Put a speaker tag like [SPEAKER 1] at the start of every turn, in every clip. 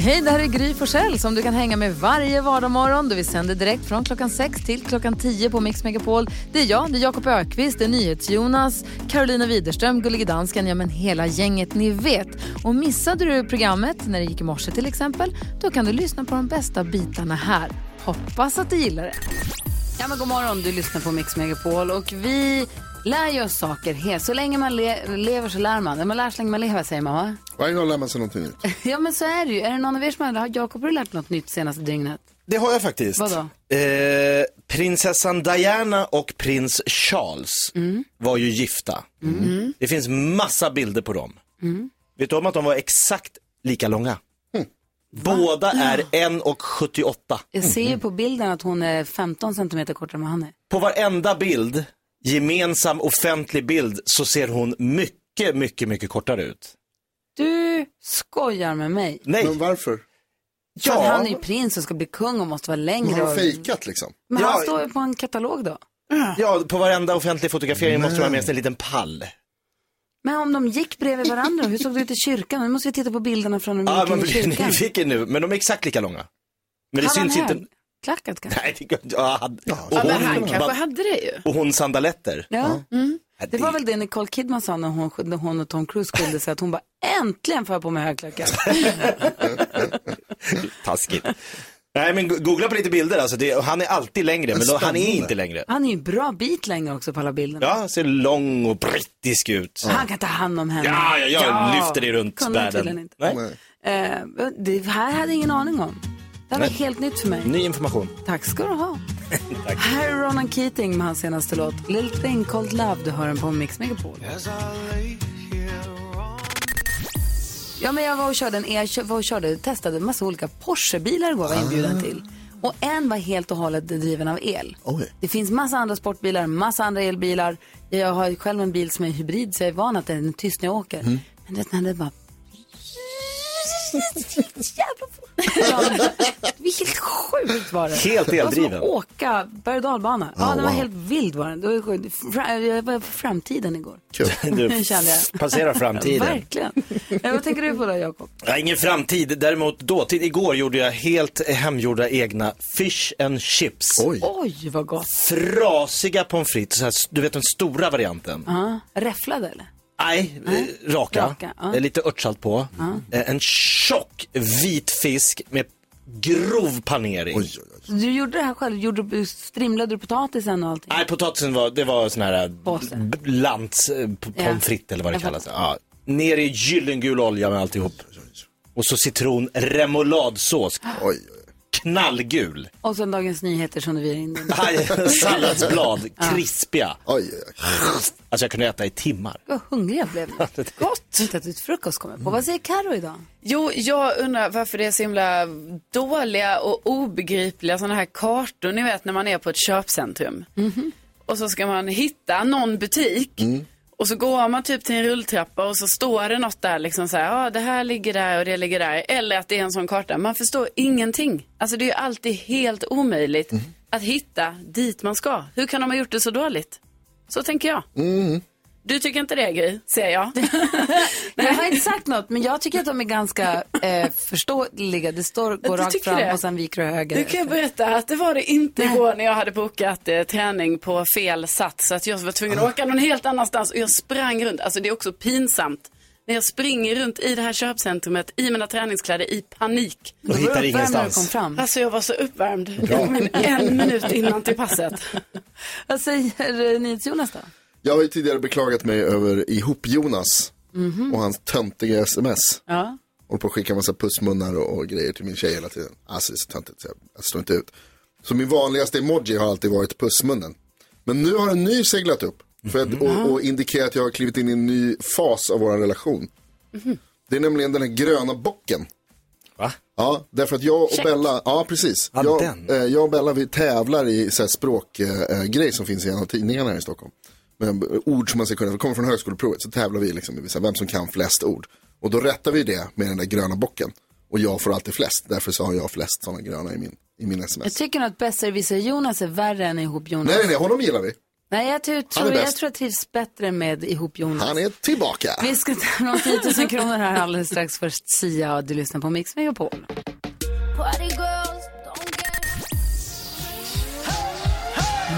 [SPEAKER 1] Hej, det här är Gry Forssell som du kan hänga med varje vardagsmorgon. Vi sänder direkt från klockan 6 till klockan 10 på Mix Megapol. Det är jag, det är Jakob Ökvist, det är NyhetsJonas, Carolina Widerström, Gullige Dansken, ja men hela gänget ni vet. Och missade du programmet när det gick i morse till exempel, då kan du lyssna på de bästa bitarna här. Hoppas att du gillar det.
[SPEAKER 2] Ja, men god morgon, du lyssnar på Mix Megapol och vi lär ju oss saker. he- Så länge man le- lever så lär man. Man lär så länge man lever, säger man va?
[SPEAKER 3] Varje dag lär man sig någonting nytt.
[SPEAKER 2] Ja, men så är det ju. Är det någon av er som har, har Jakob, har du lärt något nytt senaste dygnet?
[SPEAKER 4] Det har jag faktiskt.
[SPEAKER 2] Vadå?
[SPEAKER 4] Eh, prinsessan Diana och prins Charles
[SPEAKER 2] Mm.
[SPEAKER 4] var ju gifta. Mm. Det finns massa bilder på dem.
[SPEAKER 2] Mm.
[SPEAKER 4] Vet du om att de var exakt lika långa?
[SPEAKER 3] Mm.
[SPEAKER 4] Båda är 1,78.
[SPEAKER 2] Jag
[SPEAKER 4] Mm.
[SPEAKER 2] ser ju på bilden att hon är 15 centimeter kortare än vad han är.
[SPEAKER 4] På varenda bild, gemensam offentlig bild, så ser hon mycket, mycket, mycket kortare ut.
[SPEAKER 2] Du skojar med mig.
[SPEAKER 4] Nej,
[SPEAKER 3] Men varför?
[SPEAKER 2] För att han
[SPEAKER 4] ja,
[SPEAKER 2] är ju prins och ska bli kung och måste vara
[SPEAKER 3] Har
[SPEAKER 2] längre.
[SPEAKER 3] de
[SPEAKER 2] Och...
[SPEAKER 3] fejkat liksom?
[SPEAKER 2] Men han
[SPEAKER 4] Ja.
[SPEAKER 2] står ju på en katalog då.
[SPEAKER 4] ja, på varenda offentlig fotografering måste man ha med sig en liten pall.
[SPEAKER 2] Men om de gick bredvid varandra, hur såg det ut i kyrkan? Nu måste vi titta på bilderna från när
[SPEAKER 4] Ja,
[SPEAKER 2] de
[SPEAKER 4] man
[SPEAKER 2] gick in i
[SPEAKER 4] blir
[SPEAKER 2] kyrkan.
[SPEAKER 4] nyfiken nu, men de är exakt lika långa. Men det
[SPEAKER 2] Hade han
[SPEAKER 4] syns inte.
[SPEAKER 2] Klackat kanske?
[SPEAKER 4] Nej, det går inte. Ja, han- och,
[SPEAKER 5] Ja, men han
[SPEAKER 4] hon,
[SPEAKER 5] kanske
[SPEAKER 4] ba-
[SPEAKER 5] hade det Mm. ju.
[SPEAKER 4] och hon sandaletter.
[SPEAKER 2] Ja.
[SPEAKER 4] Ja,
[SPEAKER 2] Det var väl det Nicole Kidman sa när hon, när hon och Tom Cruise skilde sig, att hon bara äntligen får jag på mig högklackat.
[SPEAKER 4] taskigt. Nej, men go- googla på lite bilder. Alltså, det, och han är alltid längre, men då, han är inte längre.
[SPEAKER 2] Han är ju en bra bit längre också på alla bilderna.
[SPEAKER 4] Ja, han ser lång och brittisk ut.
[SPEAKER 2] Han kan ta hand om henne.
[SPEAKER 4] Ja, ja, jag lyfter dig runt
[SPEAKER 2] kunde han tydligen
[SPEAKER 4] världen.
[SPEAKER 2] inte.
[SPEAKER 4] Nej,
[SPEAKER 2] Eh, det här hade jag ingen aning om. Det här var
[SPEAKER 4] Nej.
[SPEAKER 2] helt nytt för mig.
[SPEAKER 4] ny information.
[SPEAKER 2] Tack ska du ha. Här är Ronan Keating med hans senaste låt Little Thing Called Love. Du hör den på Mix Megapol. Ja, men jag var och körde, en, jag kö- var och körde testade en massa olika Porsche-bilar igår var jag
[SPEAKER 4] Ah.
[SPEAKER 2] inbjuden till. Och en var helt och hållet driven av el.
[SPEAKER 3] Oj.
[SPEAKER 2] Det finns massa andra sportbilar, massa andra elbilar. Jag har ju själv en bil som är hybrid så jag är van att den är tyst när jag åker.
[SPEAKER 4] Mm.
[SPEAKER 2] Men det, när det bara jävla fort. Det var helt sjukt var det.
[SPEAKER 4] Helt
[SPEAKER 2] Det var
[SPEAKER 4] eldriven.
[SPEAKER 2] som att åka berg och dalbana. ja, den var helt vild var den. Det var ju sjukt. Fra- Jag var på framtiden igår.
[SPEAKER 4] Du
[SPEAKER 2] Kände jag.
[SPEAKER 4] passerar framtiden.
[SPEAKER 2] Verkligen. Eh, Vad tänker du på då, Jakob?
[SPEAKER 4] Ja, ingen framtid, däremot dåtid. Igår gjorde jag helt hemgjorda egna fish and chips.
[SPEAKER 3] Oj.
[SPEAKER 2] Oj, vad gott.
[SPEAKER 4] Frasiga pommes frites, så här, du vet den stora varianten.
[SPEAKER 2] Ja, Räfflade eller?
[SPEAKER 4] Nej, eh, raka.
[SPEAKER 2] Raka, ja.
[SPEAKER 4] Eh, Lite örtsalt på. Eh, En tjock vit fisk med grov panering.
[SPEAKER 3] Oj, oj, oj.
[SPEAKER 2] Du gjorde det här själv? Gjorde, du- strimlade du potatisen och allting?
[SPEAKER 4] Nej, potatisen var, det var sån här eh,
[SPEAKER 2] Påse.
[SPEAKER 4] b- lants eh, p-
[SPEAKER 2] Ja.
[SPEAKER 4] pommes frites eller vad det
[SPEAKER 2] Jag
[SPEAKER 4] kallas. Ja. Ner i gyllengul olja med alltihop. Och så citron remouladsås.
[SPEAKER 3] oj, oj.
[SPEAKER 4] Knallgul.
[SPEAKER 2] Och sen Dagens Nyheter som du virade in den.
[SPEAKER 4] Aj, Salladsblad. Krispiga.
[SPEAKER 3] oj, oj, oj.
[SPEAKER 4] Alltså jag kunde äta i timmar.
[SPEAKER 2] Vad hungrig jag blev nu.
[SPEAKER 5] Gott.
[SPEAKER 2] Inte att frukost kommer på. Vad säger Karo idag?
[SPEAKER 5] Jo, jag undrar varför det är så himla dåliga och obegripliga sådana här kartor. Ni vet när man är på ett köpcentrum. Och så ska man hitta någon butik.
[SPEAKER 2] Mm.
[SPEAKER 5] Och så går man typ till en rulltrappa och så står det något där liksom så här, ja ah, det här ligger där och det ligger där. Eller att det är en sån karta. Man förstår ingenting. Alltså det är ju alltid helt omöjligt att hitta dit man ska. Hur kan de ha gjort det så dåligt? Så tänker jag.
[SPEAKER 6] Mm.
[SPEAKER 5] Du tycker inte det Gry, ser jag.
[SPEAKER 2] Jag har inte sagt något, men jag tycker att de är ganska eh, förståeliga. Det står, går
[SPEAKER 5] du
[SPEAKER 2] rakt
[SPEAKER 5] tycker
[SPEAKER 2] fram
[SPEAKER 5] det?
[SPEAKER 2] och sen viker du höger.
[SPEAKER 5] Du kan jag berätta att Äh, det var det inte igår när jag hade bokat eh, träning på fel sats. Så att jag var tvungen att åka någon helt annanstans och jag sprang runt. Alltså det är också pinsamt. När jag springer runt i det här köpcentrumet i mina träningskläder i panik.
[SPEAKER 4] Och
[SPEAKER 2] Vad
[SPEAKER 4] hittar
[SPEAKER 2] uppvärmd när du kom
[SPEAKER 4] ingenstans.
[SPEAKER 2] fram.
[SPEAKER 5] Alltså jag var så uppvärmd. Men en minut innan till passet.
[SPEAKER 2] Vad säger eh, NyhetsJonas då?
[SPEAKER 3] Jag har ju tidigare beklagat mig över ihop-Jonas och hans töntiga sms.
[SPEAKER 2] Ja.
[SPEAKER 3] Håller på att skicka massa pussmunnar och, och grejer till min tjej hela tiden. Alltså det är så töntigt så jag, jag står inte ut. Så min vanligaste emoji har alltid varit pussmunnen. Men nu har en ny seglat upp. För att, och, och indikerar att jag har klivit in i en ny fas av vår relation. Det är nämligen den här gröna bocken.
[SPEAKER 4] Va?
[SPEAKER 3] Ja, därför att jag och Bella, ja precis.
[SPEAKER 4] Ja,
[SPEAKER 3] Jag,
[SPEAKER 4] den.
[SPEAKER 3] eh, jag och Bella vi tävlar i så här språkgrej som finns i en av tidningarna här i Stockholm. Med eh, ord som man ska kunna, det kommer från högskoleprovet, så tävlar vi liksom i så här, vem som kan flest ord. Och då rättar vi det med den där gröna bocken. Och jag får alltid flest, därför så har jag flest sådana gröna i min, i min
[SPEAKER 2] Jag
[SPEAKER 3] sms.
[SPEAKER 2] tycker nog att besserwisser-Jonas är värre än ihop-Jonas.
[SPEAKER 3] Nej, nej, nej, honom gillar vi.
[SPEAKER 2] Nej, jag tror,
[SPEAKER 3] Han är
[SPEAKER 2] tror, jag
[SPEAKER 3] bäst.
[SPEAKER 2] tror jag trivs bättre med ihop Jonas.
[SPEAKER 3] Han är tillbaka.
[SPEAKER 2] Vi ska ta de 10 000 kronor här alldeles strax. Först Sia och du lyssnar på Mix Megapol.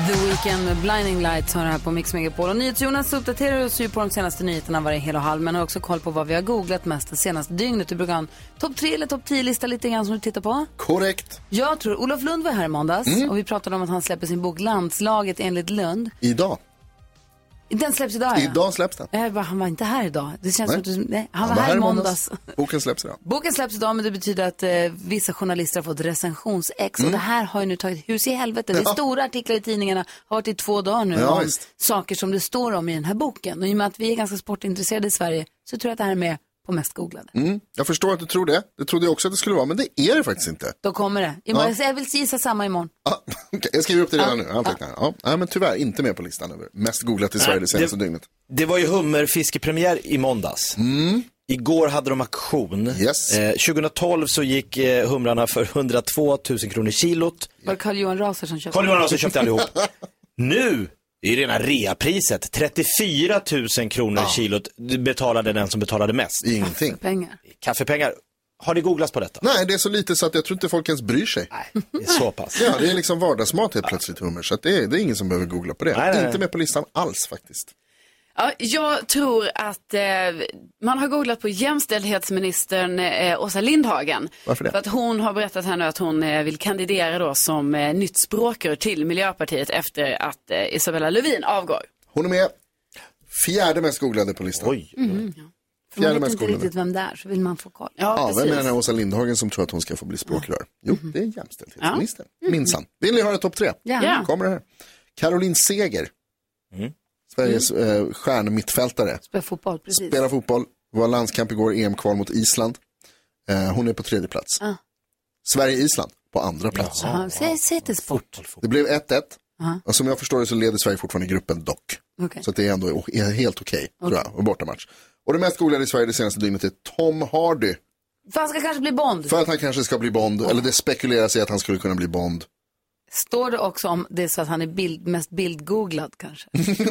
[SPEAKER 2] The Weeknd med Blinding Lights har det här på Mix Megapol. Och NyhetsJonas uppdaterar oss ju på de senaste nyheterna varje hel och halv men har också koll på vad vi har googlat mest det senaste dygnet. Du brukar ha en topp 3 eller topp 10-lista lite grann som du tittar på.
[SPEAKER 3] Korrekt.
[SPEAKER 2] Jag tror, Olof Lund var här i måndags
[SPEAKER 3] Mm.
[SPEAKER 2] och vi pratade om att han släpper sin bok Landslaget enligt Lund.
[SPEAKER 3] Idag.
[SPEAKER 2] Den släpps idag ja.
[SPEAKER 3] Idag släpps den.
[SPEAKER 2] Jag bara, han var inte här idag. Det känns
[SPEAKER 3] Nej.
[SPEAKER 2] som att du, nej, han var här i måndags.
[SPEAKER 3] Boken släpps idag.
[SPEAKER 2] Boken släpps idag men det betyder att eh, vissa journalister har fått recensionsex och det här har ju nu tagit hus i helvete. Det är
[SPEAKER 3] Mm. Ja.
[SPEAKER 2] stora artiklar i tidningarna, har varit i två dagar nu
[SPEAKER 3] Ja,
[SPEAKER 2] om
[SPEAKER 3] visst.
[SPEAKER 2] saker som det står om i den här boken. Och i och med att vi är ganska sportintresserade i Sverige så tror jag att det här är med på mest googlade.
[SPEAKER 3] Mm. Jag förstår att du tror det. Det trodde jag också att det skulle vara, men det är det faktiskt inte.
[SPEAKER 2] Då kommer det. Imorgon, Jag vill gissa samma imorgon.
[SPEAKER 3] Ah, okej, Jag skriver upp det redan nu.
[SPEAKER 2] Ah,
[SPEAKER 3] Antecknar. Ja. Nej, men tyvärr inte med på listan över mest googlat i Sverige det senaste
[SPEAKER 4] det-
[SPEAKER 3] dygnet.
[SPEAKER 4] Det var ju hummerfiskepremiär i måndags. Igår hade de auktion.
[SPEAKER 3] Mm. Yes.
[SPEAKER 4] Eh, 2012 så gick eh, humrarna för 102 000 kronor kilot.
[SPEAKER 2] Var det Carl-Johan Raser som köpte? Mm-hmm.
[SPEAKER 4] Carl Johan Larsson köpte allihop. nu är ju rena reapriset 34 000 kronor kilot Det betalade den som betalade mest.
[SPEAKER 3] Ingenting.
[SPEAKER 2] pengar?
[SPEAKER 4] Kaffepengar. Har det googlats på detta?
[SPEAKER 3] Nej, det är så lite så att jag tror inte folk ens bryr sig.
[SPEAKER 4] Det är Så pass.
[SPEAKER 3] Ja, det är liksom vardagsmat helt plötsligt, hummer. Så att det, är, det är ingen som behöver googla på det.
[SPEAKER 4] Nej, nej, nej.
[SPEAKER 3] Inte med på listan alls faktiskt.
[SPEAKER 5] Ja, jag tror att eh, man har googlat på jämställdhetsministern eh, Åsa Lindhagen.
[SPEAKER 3] Varför det?
[SPEAKER 5] För att hon har berättat här nu att hon eh, vill kandidera då som eh, nytt språkrör till Miljöpartiet efter att eh, Isabella Lövin avgår.
[SPEAKER 3] Hon är med. Fjärde mest googlade på listan.
[SPEAKER 4] Oj.
[SPEAKER 2] För man
[SPEAKER 3] Fjärde
[SPEAKER 2] vet
[SPEAKER 3] mest
[SPEAKER 2] inte
[SPEAKER 3] googlade.
[SPEAKER 2] riktigt vem det är så vill man få koll.
[SPEAKER 5] Ja,
[SPEAKER 3] Ja, vem är den
[SPEAKER 5] precis.
[SPEAKER 3] här Åsa Lindhagen som tror att hon ska få bli språkrör? Jo, det
[SPEAKER 2] Mm-hmm.
[SPEAKER 3] är jämställdhetsministern. Minsann. Vill ni höra topp tre?
[SPEAKER 2] Gärna.
[SPEAKER 3] Kommer det här. Caroline Seger.
[SPEAKER 4] Mm.
[SPEAKER 3] Sveriges
[SPEAKER 2] Mm.
[SPEAKER 3] eh, stjärnmittfältare.
[SPEAKER 2] Spela fotboll, precis.
[SPEAKER 3] Spelar fotboll, var landskamp igår, EM-kval mot Island. Eh, hon är på tredje plats.
[SPEAKER 2] Ah.
[SPEAKER 3] Sverige-Island på andra plats.
[SPEAKER 2] Ja, säg, säg till sport.
[SPEAKER 3] Det blev 1-1.
[SPEAKER 2] Ja.
[SPEAKER 3] Och som jag förstår det så leder Sverige fortfarande gruppen dock.
[SPEAKER 2] Okej.
[SPEAKER 3] Så att det är ändå o- är helt okej, tror jag, och bortamatch. Och det mest googlade i Sverige det senaste dygnet är Tom Hardy.
[SPEAKER 2] För han ska kanske bli Bond.
[SPEAKER 3] För att han kanske ska bli Bond, eller det spekuleras i att han skulle kunna bli Bond.
[SPEAKER 2] Står det också om det är så att han är bild, mest bildgooglad kanske?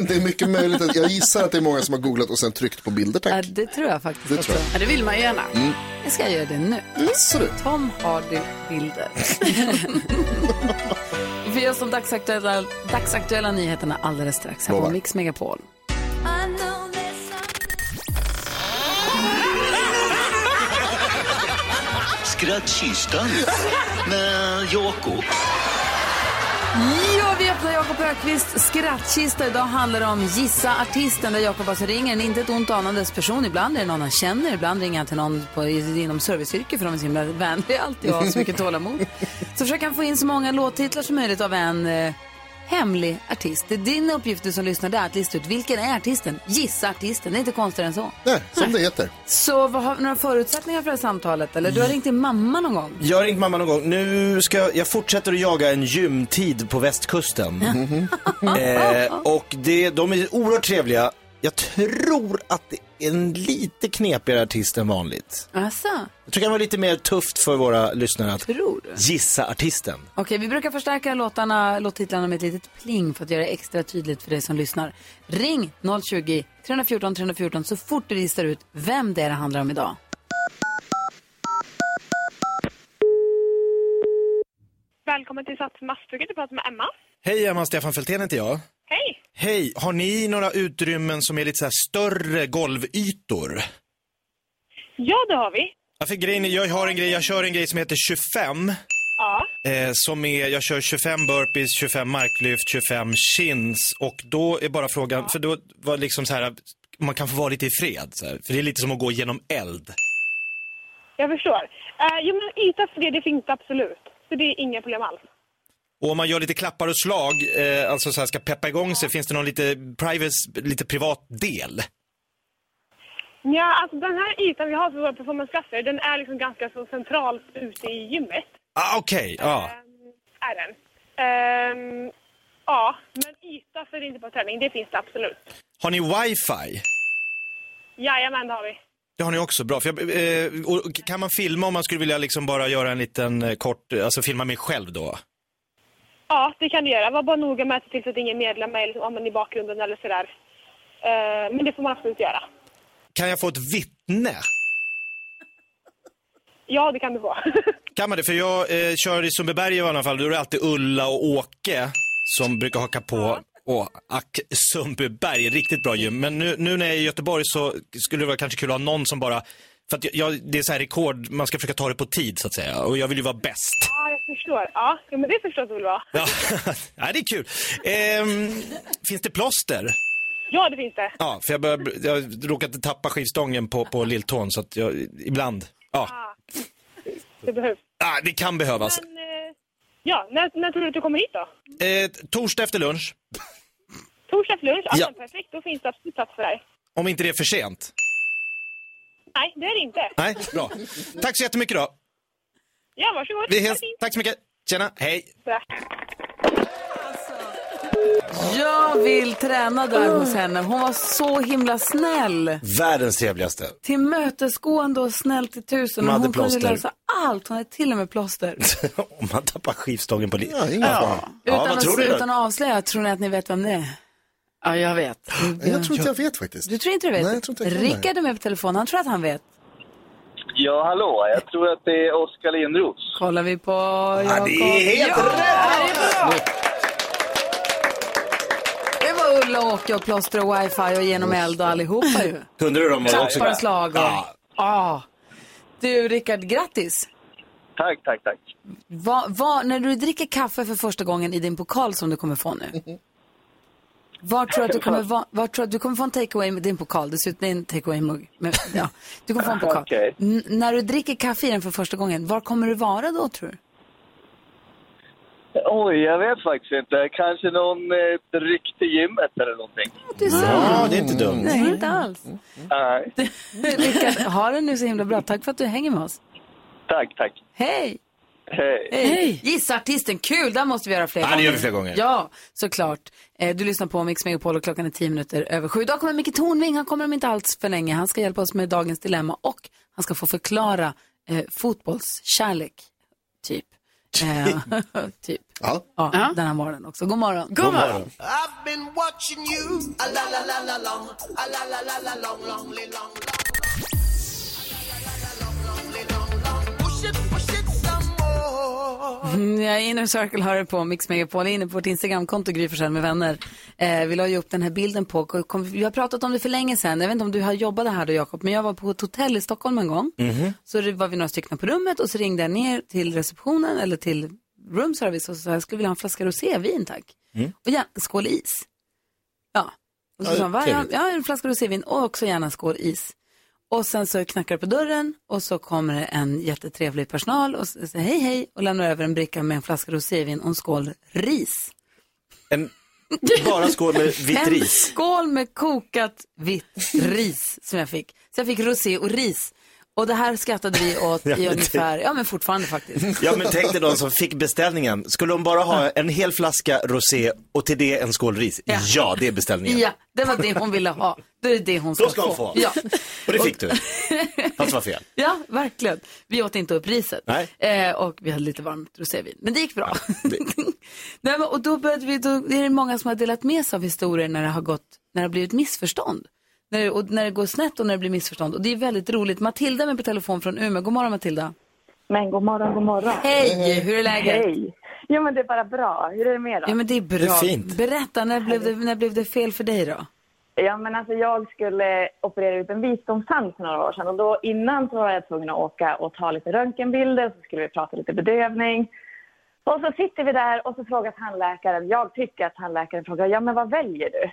[SPEAKER 3] det är mycket möjligt, att, jag gissar att det är många som har googlat och sen tryckt på bilder,
[SPEAKER 2] Ja,
[SPEAKER 3] tack.
[SPEAKER 2] det tror jag faktiskt
[SPEAKER 3] Det
[SPEAKER 2] också.
[SPEAKER 3] tror jag. Mm.
[SPEAKER 5] Ja, det vill man ju gärna.
[SPEAKER 2] Jag ska göra det nu.
[SPEAKER 3] Absolut.
[SPEAKER 2] Tom Hardy-bilder. Vi gör som dagsaktuella, dagsaktuella nyheterna alldeles strax här på
[SPEAKER 3] Lovar.
[SPEAKER 2] Mix Megapol.
[SPEAKER 6] Skrattkistan med Jakob.
[SPEAKER 2] Ja, vi öppnar Jakob Ökvists skrattkista. Idag handlar det om Gissa artisten där Jakob alltså ringer en inte ett ont anandes person. Ibland är det någon han känner, ibland ringer han till någon på, i- inom serviceyrke för de är så himla vänliga alltid och har så mycket tålamod. Så försöker han få in så många låttitlar som möjligt av en eh, hemlig artist. Det är din uppgift du som lyssnar där att lista ut vilken är artisten? Gissa artisten, det är inte konstigare än så.
[SPEAKER 3] Nej, som det heter.
[SPEAKER 2] Så vad har vi några förutsättningar för det här samtalet? Eller du har ringt din mamma någon gång?
[SPEAKER 4] Jag har ringt mamma någon gång. Nu ska jag, jag fortsätter att jaga en gymtid på västkusten. eh, och det, de är oerhört trevliga. Jag tror att det är en lite knepigare artist än vanligt.
[SPEAKER 2] Alltså,
[SPEAKER 4] Jag tycker det var lite mer tufft för våra lyssnare att
[SPEAKER 2] tror du?
[SPEAKER 4] gissa artisten.
[SPEAKER 2] Okej, vi brukar förstärka låtarna, låttitlarna med ett litet pling för att göra det extra tydligt för dig som lyssnar. Ring 020 314 314 så fort du listar ut vem det är det handlar om idag.
[SPEAKER 7] Välkommen till Sats Massbruket, du pratar med Emma.
[SPEAKER 4] Hej Emma, Stefan Fältén heter jag.
[SPEAKER 7] Hej!
[SPEAKER 4] Hej, har ni några utrymmen som är lite så här större golvytor?
[SPEAKER 7] Ja, det har vi.
[SPEAKER 4] Ja, för grejen är, jag har en grej, jag kör en grej som heter 25.
[SPEAKER 7] Ja.
[SPEAKER 4] Eh, som är, jag kör 25 burpees, 25 marklyft, 25 chins. Och då är bara frågan, för då var liksom så här, man kan få vara lite i fred. Så här, för det är lite som att gå genom eld.
[SPEAKER 7] Jag förstår. Eh, jo, men yta för det, det finns det absolut. Så det är inga problem alls.
[SPEAKER 4] Och om man gör lite klappar och slag, eh, alltså så här ska peppa igång sig, finns det någon lite, privacy, lite privat del?
[SPEAKER 7] Ja, alltså den här ytan vi har för våra performanceklasser, den är liksom ganska så centralt ute i gymmet.
[SPEAKER 4] Ah, Okej, ja.
[SPEAKER 7] Ehm, är den. Ehm, ja, men yta för inte på träning, det finns det absolut.
[SPEAKER 4] Har ni wifi?
[SPEAKER 7] Jajamän, det har vi.
[SPEAKER 4] Det har ni också, bra. För jag, eh, och kan man filma om man skulle vilja liksom bara göra en liten eh, kort, eh, alltså filma mig själv då?
[SPEAKER 7] Ja, det kan du göra. Var bara noga med att se till så att ingen medlem är liksom, ja, men i bakgrunden eller sådär. Eh, men det får man absolut göra.
[SPEAKER 4] Kan jag få ett vittne?
[SPEAKER 7] Ja, det kan du få.
[SPEAKER 4] Kan man det? För jag eh, kör i Sundbyberg i alla fall, då är det alltid Ulla och Åke som brukar haka på. Åh, ack, Sundbyberg, riktigt bra gym. Men nu, nu när jag är i Göteborg så skulle det vara kanske kul att ha någon som bara, för att jag- jag, det är så här rekord, man ska försöka ta det på tid så att säga. Och jag vill ju vara bäst.
[SPEAKER 7] ja, jag förstår. Ja, ja, men det förstås väl vara.
[SPEAKER 4] Ja, ja det är kul. Ehm, finns det plåster?
[SPEAKER 7] Ja, det finns det.
[SPEAKER 4] Ja, för jag, börjar, jag råkade tappa skivstången på, på lilltån så att jag, ibland, ja,
[SPEAKER 7] Det behövs.
[SPEAKER 4] ah, det kan behövas.
[SPEAKER 7] Men, eh, ja, när, när tror du att du kommer hit då?
[SPEAKER 4] Eh, torsdag efter lunch,
[SPEAKER 7] Torsdag till lunch? Ja,
[SPEAKER 4] Ja.
[SPEAKER 7] men Perfekt, då finns det absolut plats för dig.
[SPEAKER 4] om inte det är för sent.
[SPEAKER 7] Nej, det är det inte.
[SPEAKER 4] Nej, bra. Tack så jättemycket då.
[SPEAKER 7] Ja, varsågod.
[SPEAKER 4] Vi hörs. Tack så mycket. Tjena, hej.
[SPEAKER 2] Jag vill träna där hos henne. Hon var så himla snäll.
[SPEAKER 4] Världens trevligaste.
[SPEAKER 2] Tillmötesgående och snäll till tusen.
[SPEAKER 4] Hon
[SPEAKER 2] Och
[SPEAKER 4] hade
[SPEAKER 2] hon kunde
[SPEAKER 4] plåster.
[SPEAKER 2] lösa allt. Hon hade till och med plåster.
[SPEAKER 4] Om man tappar skivstången på livet.
[SPEAKER 3] Ja,
[SPEAKER 4] Ja,
[SPEAKER 2] utan,
[SPEAKER 4] vad tror
[SPEAKER 2] att,
[SPEAKER 4] du?
[SPEAKER 2] utan att avslöja, tror ni att ni vet vem det är?
[SPEAKER 5] Ja, jag vet.
[SPEAKER 3] jag tror inte jag vet faktiskt.
[SPEAKER 2] Du tror inte du vet?
[SPEAKER 3] Nej, jag tror inte jag kan det.
[SPEAKER 2] Rickard är med på telefon. Han tror att han vet.
[SPEAKER 8] Ja, hallå. Jag tror att det är Oskar Lindros.
[SPEAKER 2] Kollar vi på
[SPEAKER 4] Ja,
[SPEAKER 2] Jakob.
[SPEAKER 4] det är helt
[SPEAKER 2] Det var Ulla och Åke och plåstra och wifi och genom eld och allihopa ju.
[SPEAKER 4] Kunde du dem också?
[SPEAKER 2] Klappar och slag och...
[SPEAKER 4] Ja.
[SPEAKER 2] Ah. Du, Rickard, grattis!
[SPEAKER 8] Tack, tack, tack.
[SPEAKER 2] Va, va, när du dricker kaffe för första gången i din pokal som du kommer få nu. Var tror du att du kommer, va, var tror du att du kommer få en takeaway med din pokal? Det ser ut det är en takeaway-mugg. men, Ja, du kommer få en pokal.
[SPEAKER 8] Okej.
[SPEAKER 2] N- när du dricker kaffe i den för första gången, var kommer du vara då tror du?
[SPEAKER 8] Oj, jag vet faktiskt inte. Kanske någon eh, dryck till gymmet eller någonting.
[SPEAKER 4] Ja, det är inte dumt.
[SPEAKER 2] Nej, inte alls.
[SPEAKER 8] Nej.
[SPEAKER 2] Mm. Rickard, ha det nu så himla bra. Tack för att du hänger med oss.
[SPEAKER 8] Tack, tack.
[SPEAKER 2] Hej!
[SPEAKER 8] Hej.
[SPEAKER 2] Hej! Gissa artisten, kul! Där måste vi göra fler
[SPEAKER 4] Ja, det gör vi fler gånger.
[SPEAKER 2] Ja, såklart. Eh, Du lyssnar på Mix Megapol och klockan är tio minuter över sju. Idag kommer Micke Tornving, han kommer om inte alls för länge. Han ska hjälpa oss med dagens dilemma och han ska få förklara eh, fotbollskärlek, typ. Eh, typ.
[SPEAKER 3] Ja.
[SPEAKER 2] Ja, den här morgonen också. God morgon.
[SPEAKER 5] God morgon.
[SPEAKER 2] Mm, Jag är Inner Circle hör det på Mix Megapol, Jag är inne på vårt Instagramkonto Gry Forssell med vänner. Eh, vi la ju upp den här bilden på, kom, vi har pratat om det för länge sedan, jag vet inte om du har jobbat här då Jakob, men jag var på ett hotell i Stockholm en gång.
[SPEAKER 4] Mhm.
[SPEAKER 2] Så det var vi några stycken på rummet och så ringde jag ner till receptionen eller till roomservice och så sa jag skulle vilja ha en flaska rosévin tack.
[SPEAKER 4] Mm.
[SPEAKER 2] Och gärna en skål is. Ja, och så sa han, "Va? ja, ja, en flaska rosévin och också gärna en skål is. Och sen så knackar det på dörren och så kommer det en jättetrevlig personal och s- säger hej hej och lämnar över en bricka med en flaska rosévin och en skål ris.
[SPEAKER 4] En, bara skål med vitt
[SPEAKER 2] En
[SPEAKER 4] ris.
[SPEAKER 2] skål med kokat vitt ris som jag fick. Så jag fick rosé och ris. Och det här skrattade vi åt
[SPEAKER 4] Ja, men
[SPEAKER 2] i
[SPEAKER 4] det-
[SPEAKER 2] ungefär, ja men fortfarande faktiskt.
[SPEAKER 4] Ja men tänk dig de som fick beställningen. Skulle de bara ha en hel flaska rosé och till det en skål ris? Ja, det är beställningen.
[SPEAKER 2] Ja, det var det hon ville ha. Det är det hon ska,
[SPEAKER 4] Då ska hon få.
[SPEAKER 2] Ja.
[SPEAKER 4] Och det fick du. Fast var fel.
[SPEAKER 2] ja, verkligen. Vi åt inte upp riset.
[SPEAKER 4] Nej.
[SPEAKER 2] Eh, och vi hade lite varmt rosévin. Men det gick bra. Nej, men, och då, började vi, då är det många som har delat med sig av historier när det har, gått, när det har blivit missförstånd. När det, och när det går snett och när det blir missförstånd. Och det är väldigt roligt. Matilda är med på telefon från Umeå. God morgon Matilda.
[SPEAKER 9] Men god morgon, god morgon.
[SPEAKER 2] Hej, hur är läget?
[SPEAKER 9] Hej! Jo men det är bara bra. Hur är det med er då?
[SPEAKER 2] Ja men det är bra.
[SPEAKER 4] Det är fint.
[SPEAKER 2] Berätta, när blev, det, när blev det fel för dig då?
[SPEAKER 9] Ja men alltså jag skulle operera ut en visdomstand för några år sedan och då innan så var jag tvungen att åka och ta lite röntgenbilder så skulle vi prata lite bedövning. Och så sitter vi där och så frågar tandläkaren, jag tycker att tandläkaren frågar, ja men vad väljer du?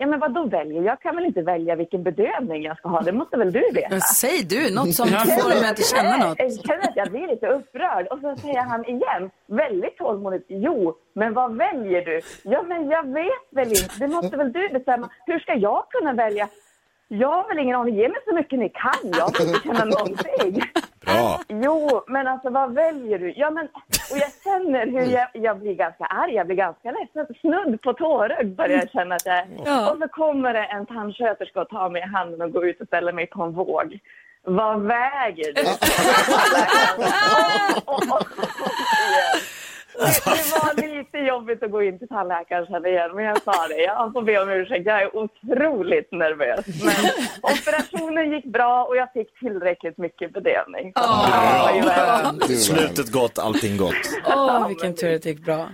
[SPEAKER 9] Ja men vad då väljer? Jag kan väl inte välja vilken bedövning jag ska ha, det måste väl du veta?
[SPEAKER 2] Ja, säg du något som får mig att känna något.
[SPEAKER 9] Jag känner att jag blir lite upprörd. Och så säger han igen, väldigt tålmodigt, jo, men vad väljer du? Ja, men jag vet väl inte. Det måste väl du bestämma. Hur ska jag kunna välja? Jag har väl ingen aning. Ge mig så mycket ni kan. Jag får inte känna någonting.
[SPEAKER 4] Bra.
[SPEAKER 9] Jo, men alltså vad väljer du? Ja, men, och jag känner hur jag, jag blir ganska arg, jag blir ganska ledsen. Snudd på tårögd börjar jag känna att jag är.
[SPEAKER 2] Ja.
[SPEAKER 9] Och så kommer det en tandsköterska och tar mig i handen och går ut och ställer mig på en våg. Vad väger du? och, och, och, och, och, Det, det var lite jobbigt att gå in till tandläkaren kände jag igen, men jag sa det. Jag får be om ursäkt, jag är otroligt nervös. Men operationen gick bra och jag fick tillräckligt mycket bedövning. Så det var ju väl-
[SPEAKER 4] Eh, Slutet gott, allting gott.
[SPEAKER 2] Åh, vilken tur att det gick bra.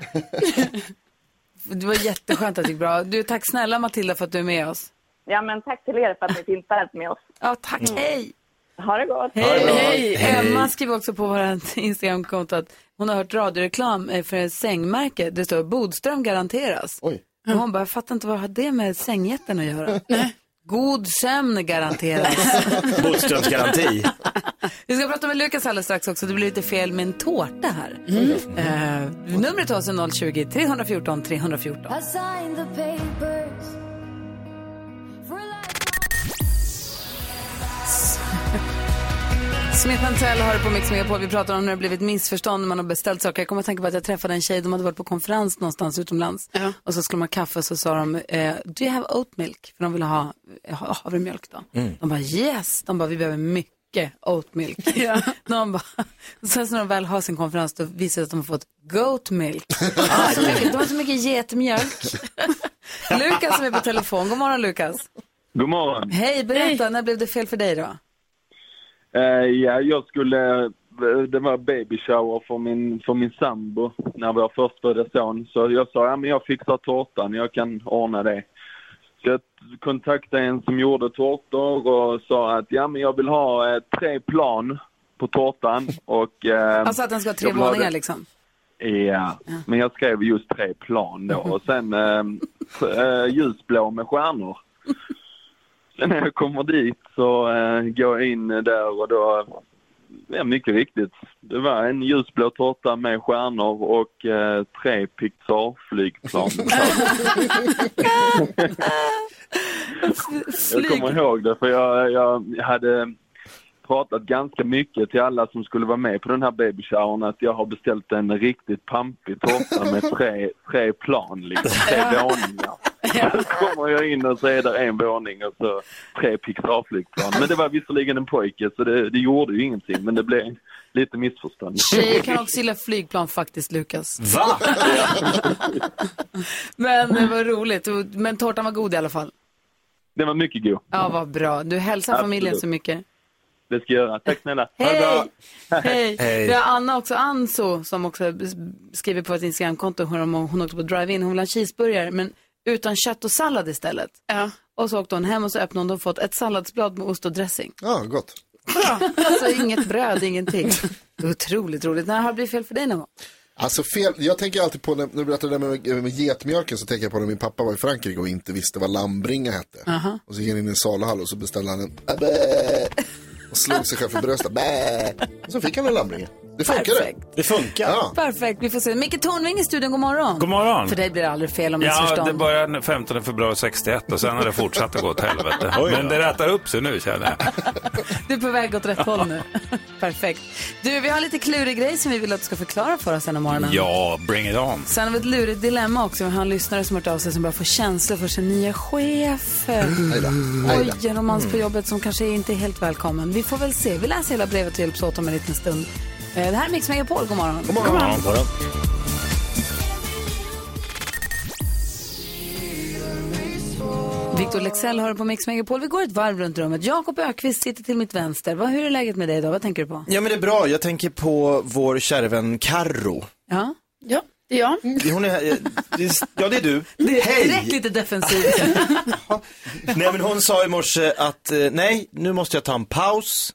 [SPEAKER 2] Det var jätteskönt att det gick bra. Du, tack snälla Matilda för att du är med oss.
[SPEAKER 9] Ja, men tack till er för att ni finns med oss. Mm.
[SPEAKER 2] Ja, tack. Hej!
[SPEAKER 9] Ha det gott!
[SPEAKER 2] Hej! Emma skriver också på vårt Instagramkonto att hon har hört radioreklam eh, för ett sängmärke. Det står Bodström garanteras.
[SPEAKER 3] Oj.
[SPEAKER 2] Och hon bara, jag fattar inte vad har det med sängjätten att göra? God sömn garanteras.
[SPEAKER 4] Bodströms garanti.
[SPEAKER 2] Vi ska prata med Lukas alldeles strax också. Det blir lite fel med en tårta här. Eh, numret till oss är 020-314 314. Smith Tell har det på Mix Megapol. Vi pratar om när det blivit missförstånd när man har beställt saker. Jag kommer att tänka på att jag träffade en tjej, de hade varit på konferens någonstans utomlands. Och så skulle man ha kaffe och så sa de, eh, do you have oat milk? För de ville ha eh, ha- havremjölk då.
[SPEAKER 10] Mm.
[SPEAKER 2] De bara yes, de bara vi behöver mycket oat milk. de bara, sen så när de väl har sin konferens då visar det sig att de har fått goat milk. de, har så mycket, de har så mycket getmjölk. Lukas som är på telefon, god morgon Lukas.
[SPEAKER 8] God morgon.
[SPEAKER 2] Hej, berätta, när blev det fel för dig då?
[SPEAKER 8] Eh, ja, jag skulle... eh, Det var baby shower för min, för min sambo när vår förstfödda son. Så jag sa, ja men jag fixar tårtan, jag kan ordna det. Så jag kontaktade en som gjorde tårtor och sa att, ja men jag vill ha eh, tre plan på tårtan och... Eh,
[SPEAKER 2] Alltså att den ska ha tre
[SPEAKER 8] jag vill ha
[SPEAKER 2] våningar
[SPEAKER 8] det-
[SPEAKER 2] liksom.
[SPEAKER 8] Ja, men jag skrev just tre plan då och sen eh, eh, ljusblå med stjärnor. Sen när jag kommer dit så eh, går jag in där och då, ja mycket riktigt, det var en ljusblå tårta med stjärnor och eh, tre Pixar-flygplan. jag kommer ihåg det för jag, jag hade pratat ganska mycket till alla som skulle vara med på den här babyshowern att jag har beställt en riktigt pampig tårta med tre, tre plan, liksom, tre våningar. Så kommer jag in och så är där en våning och så tre Pixar-flygplan. Men det var visserligen en pojke så det, det gjorde ju ingenting men det blev lite missförstånd.
[SPEAKER 2] Tjejer kan också gilla flygplan faktiskt, Lukas.
[SPEAKER 4] Va?
[SPEAKER 2] Men det var roligt. Och- Men tårtan var god i alla fall.
[SPEAKER 8] Det var mycket god.
[SPEAKER 2] Ja, vad bra. Du hälsar familjen
[SPEAKER 8] Absolut.
[SPEAKER 2] så mycket.
[SPEAKER 8] Det ska jag göra. Tack snälla.
[SPEAKER 2] Hej! Hej!
[SPEAKER 4] Hej.
[SPEAKER 2] Vi har Anna också, Anso, som också skriver på ett Instagramkonto. Hon, hon åkte på drive-in. Hon ville ha cheeseburgare, men utan kött och sallad istället.
[SPEAKER 5] Ja.
[SPEAKER 2] Och så åkte hon hem och så öppnade hon och fått ett salladsblad med ost och dressing.
[SPEAKER 3] Ja, gott.
[SPEAKER 2] Alltså inget bröd, ingenting. Det är Otroligt roligt. När har det blivit fel för dig någon gång?
[SPEAKER 3] Alltså fel, jag tänker alltid på, när när du berättade det där med, med getmjölken så tänker jag på när min pappa var i Frankrike och inte visste vad lambringa hette. Och så gick han in i en saluhall och så beställde han en Bä! och slog sig själv för bröstet. Bä! Och så fick han en lambringa. Det funkade.
[SPEAKER 2] Perfekt.
[SPEAKER 4] Det funkar.
[SPEAKER 3] Ja.
[SPEAKER 2] Perfekt, vi får se. Micke Tornving i studion, god morgon.
[SPEAKER 10] God morgon.
[SPEAKER 2] För dig blir det aldrig fel om
[SPEAKER 10] Ja,
[SPEAKER 2] missförstånd.
[SPEAKER 10] det började den 15 februari 61 och sen har det fortsatt att gå åt helvete.
[SPEAKER 4] Oj då.
[SPEAKER 10] Men det rättar upp sig nu känner jag.
[SPEAKER 2] Du är på väg åt rätt håll nu. Perfekt. Du, vi har lite klurig grej som vi vill att du ska förklara för oss sen om morgonen.
[SPEAKER 10] Ja, bring it on.
[SPEAKER 2] Sen har vi ett lurigt dilemma också. Vi har en lyssnare som har hört av sig som börjar få känslor för sin nya chef. Oj, en romans på jobbet som kanske inte är helt välkommen. Vi får väl se. Vi läser hela brevet och hjälps åt om en liten stund. Eh, Det här är Mix Megapol. God morgon. God morgon.
[SPEAKER 4] Ja, bara.
[SPEAKER 2] Victor Lexell har det på Mix Megapol. Vi går ett varv runt rummet. Jakob Ökvist sitter till mitt vänster. Vad, hur är läget med dig idag? Vad tänker du på?
[SPEAKER 4] ja, men det är bra. Jag tänker på vår kära vän Carro.
[SPEAKER 2] Ja.
[SPEAKER 5] Ja, det är jag.
[SPEAKER 4] Hon är här. eh, det är- Ja, det är du.
[SPEAKER 2] Det är
[SPEAKER 4] Hej!
[SPEAKER 2] direkt lite defensivt.
[SPEAKER 4] Nej men hon sa i morse att eh, nej, nu måste jag ta en paus.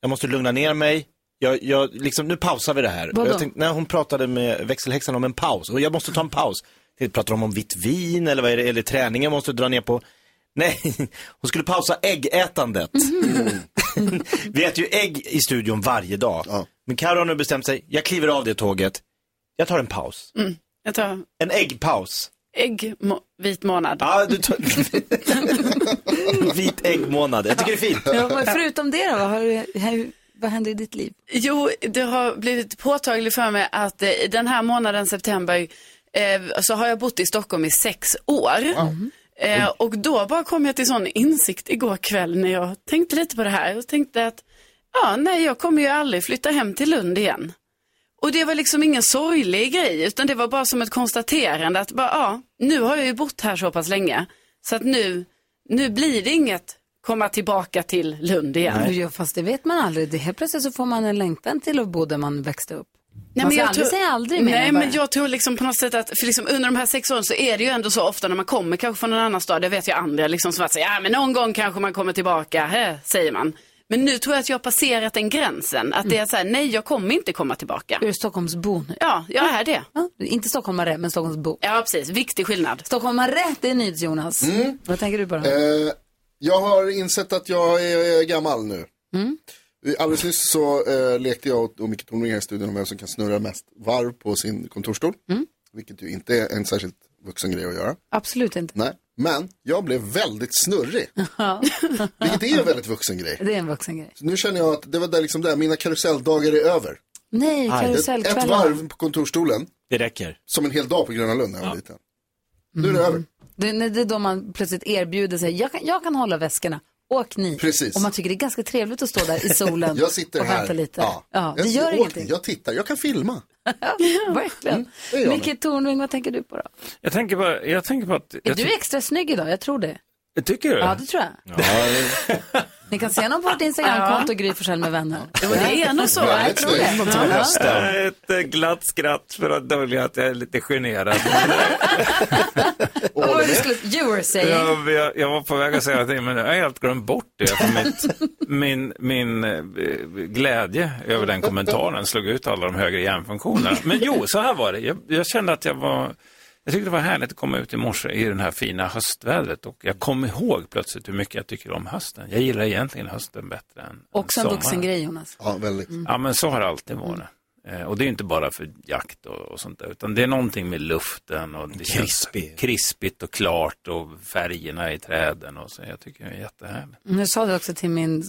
[SPEAKER 4] Jag måste lugna ner mig. Jag, jag, liksom, nu pausar vi det här.
[SPEAKER 2] Vadå?
[SPEAKER 4] Och Jag tänkte, när hon pratade med växelhäxan om en paus, och jag måste ta en paus. Tänkte, Pratar de om vitt vin eller vad är det, eller träning jag måste dra ner på? Nej, hon skulle pausa äggätandet. vi äter ju ägg i studion varje dag.
[SPEAKER 3] Ja.
[SPEAKER 4] Men Karo har nu bestämt sig, jag kliver av det tåget. Jag tar en paus.
[SPEAKER 5] Mm. Jag tar
[SPEAKER 4] En äggpaus.
[SPEAKER 5] ägg, må- vit månad.
[SPEAKER 4] Ja, du tar... Vit äggmånad. Jag tycker det är fint.
[SPEAKER 2] Ja, men förutom det då, vad, har, du- hur- vad händer i ditt liv?
[SPEAKER 5] Jo, det har blivit påtagligt för mig att eh, den här månaden, september, eh, så har jag bott i Stockholm i sex år. Eh, och då bara kom jag till sån insikt igår kväll när jag tänkte lite på det här och tänkte att ja, nej, jag kommer ju aldrig flytta hem till Lund igen. Och det var liksom ingen sorglig grej, utan det var bara som ett konstaterande att bara, ja, nu har jag ju bott här så pass länge, så att nu, nu blir det inget komma tillbaka till Lund igen.
[SPEAKER 2] Men Ja, fast det vet man aldrig. Det helt plötsligt så får man en längtan till att bo där man växte upp. man
[SPEAKER 5] Nej, men
[SPEAKER 2] ska
[SPEAKER 5] jag
[SPEAKER 2] aldrig
[SPEAKER 5] tror-
[SPEAKER 2] säga aldrig menar
[SPEAKER 5] Nej,
[SPEAKER 2] jag bara.
[SPEAKER 5] men jag tror liksom på något sätt att, för liksom under de här sex åren så är det ju ändå så ofta när man kommer kanske från en annan stad, det vet jag andra liksom som att säga, ja men någon gång kanske man kommer tillbaka, hä, säger man. Men nu tror jag att jag har passerat den gränsen, att det är så här, nej jag kommer inte komma tillbaka.
[SPEAKER 2] Du är Stockholmsbo nu.
[SPEAKER 5] Ja, jag är det.
[SPEAKER 2] Ja, inte stockholmare, men Stockholmsbo.
[SPEAKER 5] Ja, precis, viktig skillnad.
[SPEAKER 2] Stockholmare, det är nytt Jonas.
[SPEAKER 3] Mm.
[SPEAKER 2] Vad tänker du på då?
[SPEAKER 3] Eh, jag har insett att jag är eh, gammal nu.
[SPEAKER 2] Mm.
[SPEAKER 3] Alldeles nyss så eh, lekte jag och, och Micke Tornving här i studion om vem som kan snurra mest varv på sin kontorsstol.
[SPEAKER 2] Mm.
[SPEAKER 3] Vilket ju inte är en särskilt vuxen grej att göra.
[SPEAKER 2] Absolut inte.
[SPEAKER 3] Nej. Men jag blev väldigt snurrig. vilket är en väldigt vuxen grej.
[SPEAKER 2] Det är en vuxen grej.
[SPEAKER 3] Så nu känner jag att det var där liksom där, mina karuselldagar är över.
[SPEAKER 2] Nej,
[SPEAKER 3] Ett, ett
[SPEAKER 2] karusellkvällar.
[SPEAKER 3] varv på kontorsstolen,
[SPEAKER 4] Det räcker.
[SPEAKER 3] som en hel dag på Gröna Lund när jag var liten.
[SPEAKER 2] Mm.
[SPEAKER 3] Nu är det över.
[SPEAKER 2] Det, nej, det är då man plötsligt erbjuder sig, jag kan, jag kan hålla väskorna, åk ni.
[SPEAKER 3] Precis.
[SPEAKER 2] Och man tycker det är ganska trevligt att stå där i solen
[SPEAKER 3] Jag sitter
[SPEAKER 2] och
[SPEAKER 3] här.
[SPEAKER 2] vänta lite.
[SPEAKER 3] Ja.
[SPEAKER 2] det
[SPEAKER 3] jag,
[SPEAKER 2] gör
[SPEAKER 3] åker,
[SPEAKER 2] ingenting.
[SPEAKER 3] Jag tittar, jag kan filma.
[SPEAKER 2] Verkligen.
[SPEAKER 3] det gör man.
[SPEAKER 2] Micke Tornving, vad tänker du på då?
[SPEAKER 10] Mm. Jag tänker på, jag tänker på att...
[SPEAKER 2] Är
[SPEAKER 10] Jag
[SPEAKER 2] du
[SPEAKER 10] ty-
[SPEAKER 2] extra snygg idag? Jag tror det.
[SPEAKER 10] tycker du?
[SPEAKER 2] Ja, det tror jag. Ni kan se honom på vårt Instagramkonto, Gry Forssell med vänner.
[SPEAKER 5] Och det är nog så.
[SPEAKER 3] Väldigt
[SPEAKER 2] tror det.
[SPEAKER 3] snyggt.
[SPEAKER 10] Eh, Ett eh, glatt skratt för att dölja att jag är lite generad.
[SPEAKER 2] Vad var det du skulle, you were saying.
[SPEAKER 10] Jag, jag, jag var på väg att säga någonting, men jag har helt glömt bort det. För mitt, min, min eh, glädje över den kommentaren slog ut alla de högre hjärnfunktionerna. Men jo, så här var det. Jag, jag kände att jag var... Jag tyckte det var härligt att komma ut i morse i det här fina höstvädret och jag kom ihåg plötsligt hur mycket jag tycker om hösten. Jag gillar egentligen hösten bättre än
[SPEAKER 2] Också en
[SPEAKER 10] sommaren.
[SPEAKER 2] vuxen grej, Jonas.
[SPEAKER 3] Ja, väldigt.
[SPEAKER 10] Mm. Ja, men så har det alltid varit.
[SPEAKER 2] Mm.
[SPEAKER 10] Eh, Och det är ju inte bara för jakt och, och sånt där, utan det är någonting med luften och det känns
[SPEAKER 4] Krispig.
[SPEAKER 10] krispigt och klart och färgerna i träden och så. Jag tycker det är jättehärligt.
[SPEAKER 2] Nu sa du också till, min,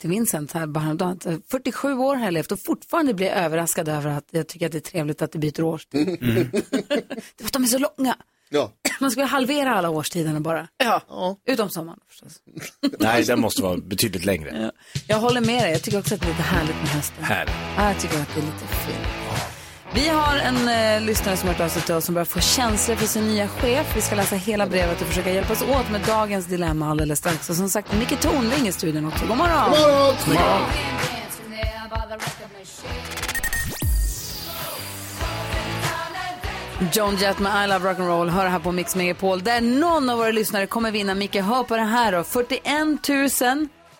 [SPEAKER 2] till Vincent här bara häromdagen att eh, 47 år har jag levt och fortfarande blir jag överraskad över att jag tycker att det är trevligt att det byter årstid. det är för att de är så långa.
[SPEAKER 3] Ja.
[SPEAKER 2] Man skulle halvera alla årstiderna bara.
[SPEAKER 5] Ja.
[SPEAKER 2] Utom sommaren förstås.
[SPEAKER 4] Nej, den måste vara betydligt längre.
[SPEAKER 2] Jag håller med dig. Jag tycker också att det är lite härligt med hösten.
[SPEAKER 10] Härligt.
[SPEAKER 2] Ja, Ah, jag tycker att det är lite fint. Vi har en eh, lyssnare som har hört av sig till oss som börjar få känslor för sin nya chef. Vi ska läsa hela brevet och försöka hjälpas åt med dagens dilemma alldeles strax. Och som sagt, Micke Tornving i studion också. God morgon! John Jett med I Love Rock'n'Roll hör här på Mix Megapol där någon av våra lyssnare kommer vinna. Micke, hör på det här då. 41 000, nu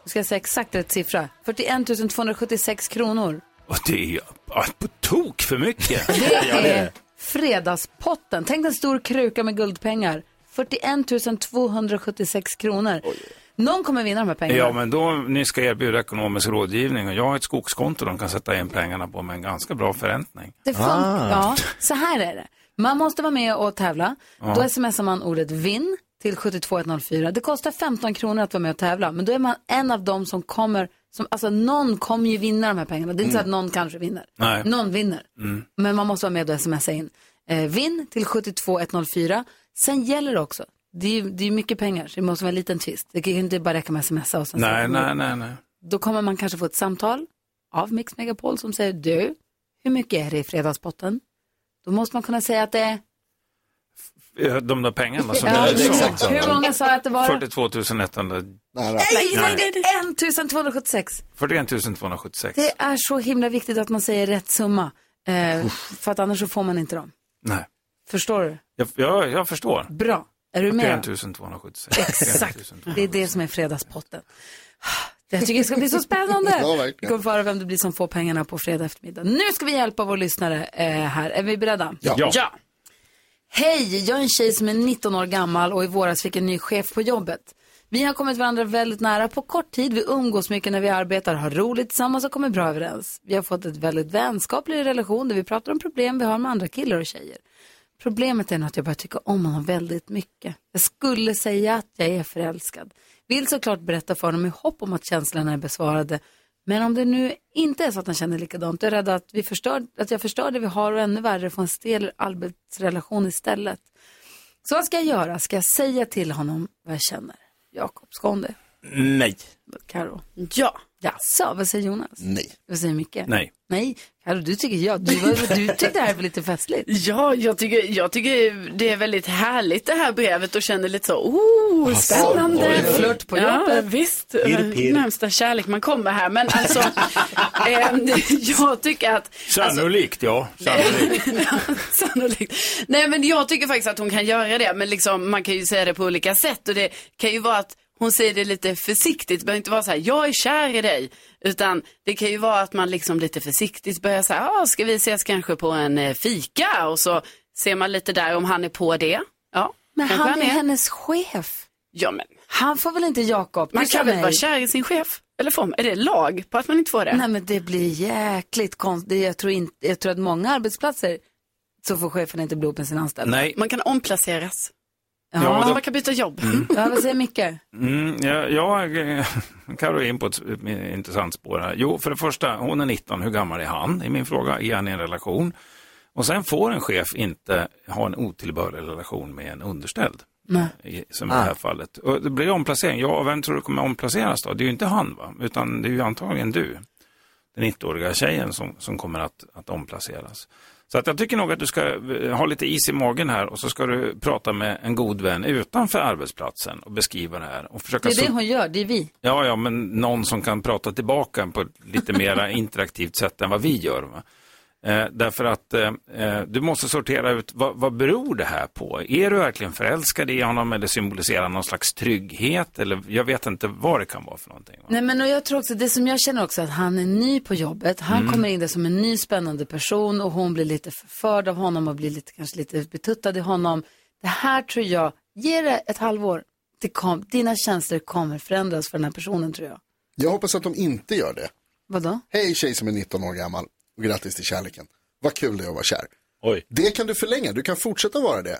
[SPEAKER 2] ska jag säga exakt rätt siffra, 41 276 kronor.
[SPEAKER 10] Och det är ju ah, på tok för mycket.
[SPEAKER 2] Det är fredagspotten. Tänk en stor kruka med guldpengar. 41 276 kronor. Någon kommer vinna de här pengarna.
[SPEAKER 10] Ja, men då, ni ska erbjuda ekonomisk rådgivning och jag har ett skogskonto de kan sätta in pengarna på med en ganska bra förräntning.
[SPEAKER 2] Det funkar.
[SPEAKER 10] Ah.
[SPEAKER 2] Ja, så här är det. Man måste vara med och tävla. Då smsar man ordet vinn till 72104. Det kostar 15 kronor att vara med och tävla, men då är man en av dem som kommer, som, alltså någon kommer ju vinna de här pengarna. Det är inte så att någon kanske vinner.
[SPEAKER 10] Nej.
[SPEAKER 2] Någon vinner. Men man måste vara med och smsa in. Eh, vinn till 72104. Sen gäller det också, det är ju det är ju mycket pengar, så det måste vara en liten twist. Det kan ju inte bara räcka med smsa och sen säga
[SPEAKER 10] Nej,
[SPEAKER 2] att-
[SPEAKER 10] nej, nej, nej.
[SPEAKER 2] då kommer man kanske få ett samtal av Mix Megapol som säger du, hur mycket är det i fredagspotten? Då måste man kunna säga att det är,
[SPEAKER 10] Eh, De där pengarna som
[SPEAKER 2] Ja,
[SPEAKER 10] är
[SPEAKER 3] det är exakt
[SPEAKER 10] så.
[SPEAKER 3] samma.
[SPEAKER 2] hur många sa jag att det var?
[SPEAKER 10] 42 100,
[SPEAKER 3] Nära.
[SPEAKER 2] Nej, nej, nej, 1276.
[SPEAKER 10] 41 276.
[SPEAKER 2] Det är så himla viktigt att man säger rätt summa. Eh, för att annars så får man inte dem.
[SPEAKER 10] Nej,
[SPEAKER 2] Förstår du?
[SPEAKER 10] jag, jag, jag förstår.
[SPEAKER 2] Bra. Är du med?
[SPEAKER 10] 41
[SPEAKER 2] då?
[SPEAKER 10] 276.
[SPEAKER 2] Exakt. Det är det som är fredagspotten. Jag tycker det ska bli så
[SPEAKER 3] Ja,
[SPEAKER 2] spännande.
[SPEAKER 3] verkligen.
[SPEAKER 2] Vi kommer få höra vem det blir som får pengarna på fredag eftermiddag. Nu ska vi hjälpa vår lyssnare eh, här. Är vi beredda?
[SPEAKER 10] Ja.
[SPEAKER 2] Hej, jag är en tjej som är 19 år gammal och i våras fick en ny chef på jobbet. Vi har kommit varandra väldigt nära på kort tid. Vi umgås mycket när vi arbetar, har roligt tillsammans och kommer bra överens. Vi har fått ett väldigt vänskaplig relation där vi pratar om problem vi har med andra killar och tjejer. Problemet är nog att jag börjar tycka om honom väldigt mycket. Jag skulle säga att jag är förälskad. Vill såklart berätta för honom i hopp om att känslorna är besvarade. Men om det nu inte är så att han känner likadant, då är jag rädd att, vi förstör, att jag förstör det vi har och ännu värre får en stel arbetsrelation istället. Så vad ska jag göra? Ska jag säga till honom vad jag känner? Jakob, ska hon det?
[SPEAKER 10] Nej.
[SPEAKER 2] Karo.
[SPEAKER 5] Ja.
[SPEAKER 2] Jaså, vad säger Jonas?
[SPEAKER 3] Nej.
[SPEAKER 2] Vad säger Micke?
[SPEAKER 10] Nej.
[SPEAKER 2] Nej, Karo, du tycker ja. Du, var- du tyckte det här var lite festligt.
[SPEAKER 5] Ja, jag tycker, jag tycker det är väldigt härligt det här brevet och känner lite så, oh, spännande.
[SPEAKER 4] oj, oj.
[SPEAKER 2] Flört på
[SPEAKER 5] Ja,
[SPEAKER 2] jobbet.
[SPEAKER 5] visst.
[SPEAKER 4] Pirr, pirr.
[SPEAKER 5] Närmsta kärlek man kommer här. Men alltså, ehm, jag tycker att...
[SPEAKER 10] Sannolikt, ja. Sannolikt.
[SPEAKER 5] Sannolikt. Nej men jag tycker faktiskt att hon kan göra det. Men liksom, man kan ju säga det på olika sätt. Och det kan ju vara att hon säger det lite försiktigt. Det behöver inte vara så här, jag är kär i dig. Utan det kan ju vara att man liksom lite försiktigt börjar säga, ah, ska vi ses kanske på en eh, fika? Och så ser man lite där om han är på det. Ja,
[SPEAKER 2] Men
[SPEAKER 5] kanske
[SPEAKER 2] han är hennes chef.
[SPEAKER 5] Ja, men
[SPEAKER 2] Han får väl inte Jakob?
[SPEAKER 5] man
[SPEAKER 2] Tysta
[SPEAKER 5] kan väl
[SPEAKER 2] mig.
[SPEAKER 5] vara kär i sin chef? Eller får man, är det lag på att man inte får det?
[SPEAKER 2] Nej men det blir jäkligt konstigt. Jag tror, inte, jag tror att många arbetsplatser så får chefen inte bli ihop med sin anställda.
[SPEAKER 10] Nej.
[SPEAKER 5] Man kan omplaceras.
[SPEAKER 10] Ja, då-
[SPEAKER 5] Man kan byta jobb.
[SPEAKER 2] Ja, vad säger Micke?
[SPEAKER 10] Mm, ja, jag Carro är in på ett eh, intressant spår här. Jo, för det första, hon är 19, hur gammal är han? I min fråga, är han i en relation? Och sen får en chef inte ha en otillbörlig relation med en underställd. I, som i det här fallet. Och det blir omplacering. Ja, vem tror du kommer omplaceras då? Det är ju inte han, va? utan det är ju antagligen du. Den 90-åriga tjejen som, som kommer att, att omplaceras. Så att jag tycker nog att du ska eh, ha lite is i magen här och så ska du prata med en god vän utanför arbetsplatsen och beskriva det här. Och försöka
[SPEAKER 2] Det är det
[SPEAKER 10] sub-
[SPEAKER 2] hon gör, det är vi.
[SPEAKER 10] Ja, ja, men någon som kan prata tillbaka på ett lite mer interaktivt sätt än vad vi gör. Va? Eh, därför att eh, eh, du måste sortera ut vad, vad beror det här på? Är du verkligen förälskad i honom eller symboliserar han någon slags trygghet? Eller, jag vet inte vad det kan vara för någonting. Va?
[SPEAKER 2] Nej men och jag tror också, det som jag känner också är att han är ny på jobbet. Han
[SPEAKER 5] Mm.
[SPEAKER 2] kommer in där som en ny spännande person och hon blir lite förförd av honom och blir lite, kanske lite betuttad i honom. Det här tror jag, ge det ett halvår. Det kom, dina känslor kommer förändras för den här personen tror jag.
[SPEAKER 3] Jag hoppas att de inte gör det.
[SPEAKER 2] Vadå?
[SPEAKER 3] Hej tjej som är 19 år gammal och grattis till kärleken. Vad kul det är att vara kär.
[SPEAKER 4] Oj.
[SPEAKER 3] Det kan du förlänga, du kan fortsätta vara det.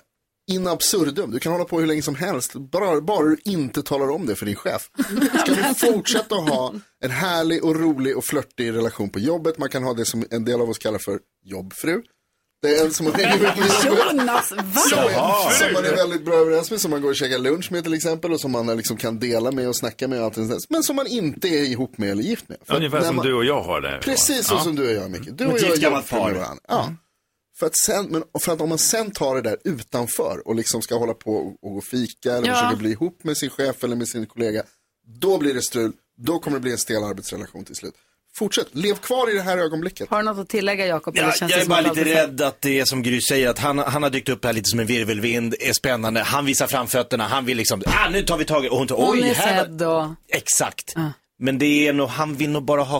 [SPEAKER 3] In absurdum, du kan hålla på hur länge som helst, bara, bara du inte talar om det för din chef. Ska du fortsätta att ha en härlig och rolig och flörtig relation på jobbet, man kan ha det som en del av oss kallar för jobbfru. Det är en som man hänger med på jobbet.
[SPEAKER 5] Jonas,
[SPEAKER 3] Som
[SPEAKER 5] va?
[SPEAKER 3] man, som man är väldigt bra överens med, som man går och käkar lunch med till exempel och som man liksom kan dela med och snacka med och allt sånt där. Men som man inte är ihop med eller gift med. För att
[SPEAKER 10] Ungefär
[SPEAKER 3] när
[SPEAKER 10] som
[SPEAKER 3] man-
[SPEAKER 10] du och jag har det.
[SPEAKER 3] Precis så som du och jag Micke. Du och
[SPEAKER 4] Ett
[SPEAKER 3] jag
[SPEAKER 4] gift gammalt
[SPEAKER 3] jämför med
[SPEAKER 4] par.
[SPEAKER 3] varandra. Ja. För, att sen, men, för att om man sen tar det där utanför och liksom ska hålla på och, och gå fika eller
[SPEAKER 5] Ja.
[SPEAKER 3] försöka bli ihop med sin chef eller med sin kollega. Då blir det strul, då kommer det bli en stel arbetsrelation till slut. Fortsätt, lev kvar i det här ögonblicket.
[SPEAKER 2] Har du något att tillägga Jakob?
[SPEAKER 4] Ja,
[SPEAKER 2] Eller känns det
[SPEAKER 4] jag är
[SPEAKER 2] som
[SPEAKER 4] bara
[SPEAKER 2] att
[SPEAKER 4] lite
[SPEAKER 2] allt är
[SPEAKER 4] rädd att det är som Gry säger, att han, han har dykt upp här lite som en virvelvind, är spännande, han visar framfötterna, han vill liksom, ah, nu tar vi tag i, och hon tar,
[SPEAKER 2] Hon
[SPEAKER 4] oj,
[SPEAKER 2] är
[SPEAKER 4] här,
[SPEAKER 2] sedd och...
[SPEAKER 4] Exakt. Men det är nog, han vill nog bara ha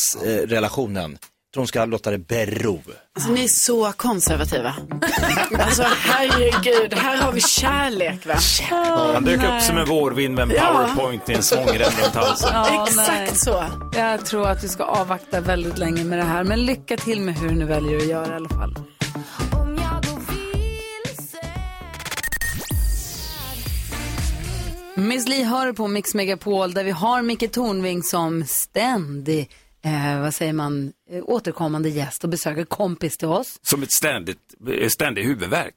[SPEAKER 4] chefarbetsrelationen. tror hon ska låta det bero.
[SPEAKER 5] Alltså, ni är så konservativa. Alltså herregud, här har vi kärlek va?
[SPEAKER 10] Han dök upp som en vårvind med en powerpoint i en svångrem runt halsen.
[SPEAKER 2] Ja,
[SPEAKER 5] Exakt
[SPEAKER 2] nej.
[SPEAKER 5] så.
[SPEAKER 2] Jag tror att du ska avvakta väldigt länge med det här. Men lycka till med hur du nu väljer att göra i alla fall. Miss Li hör på Mix Megapol där vi har Micke Tornving som ständig, eh, vad säger man, eh, återkommande gäst och besöker kompis till oss.
[SPEAKER 10] Som ett ständigt, ständigt huvudvärk.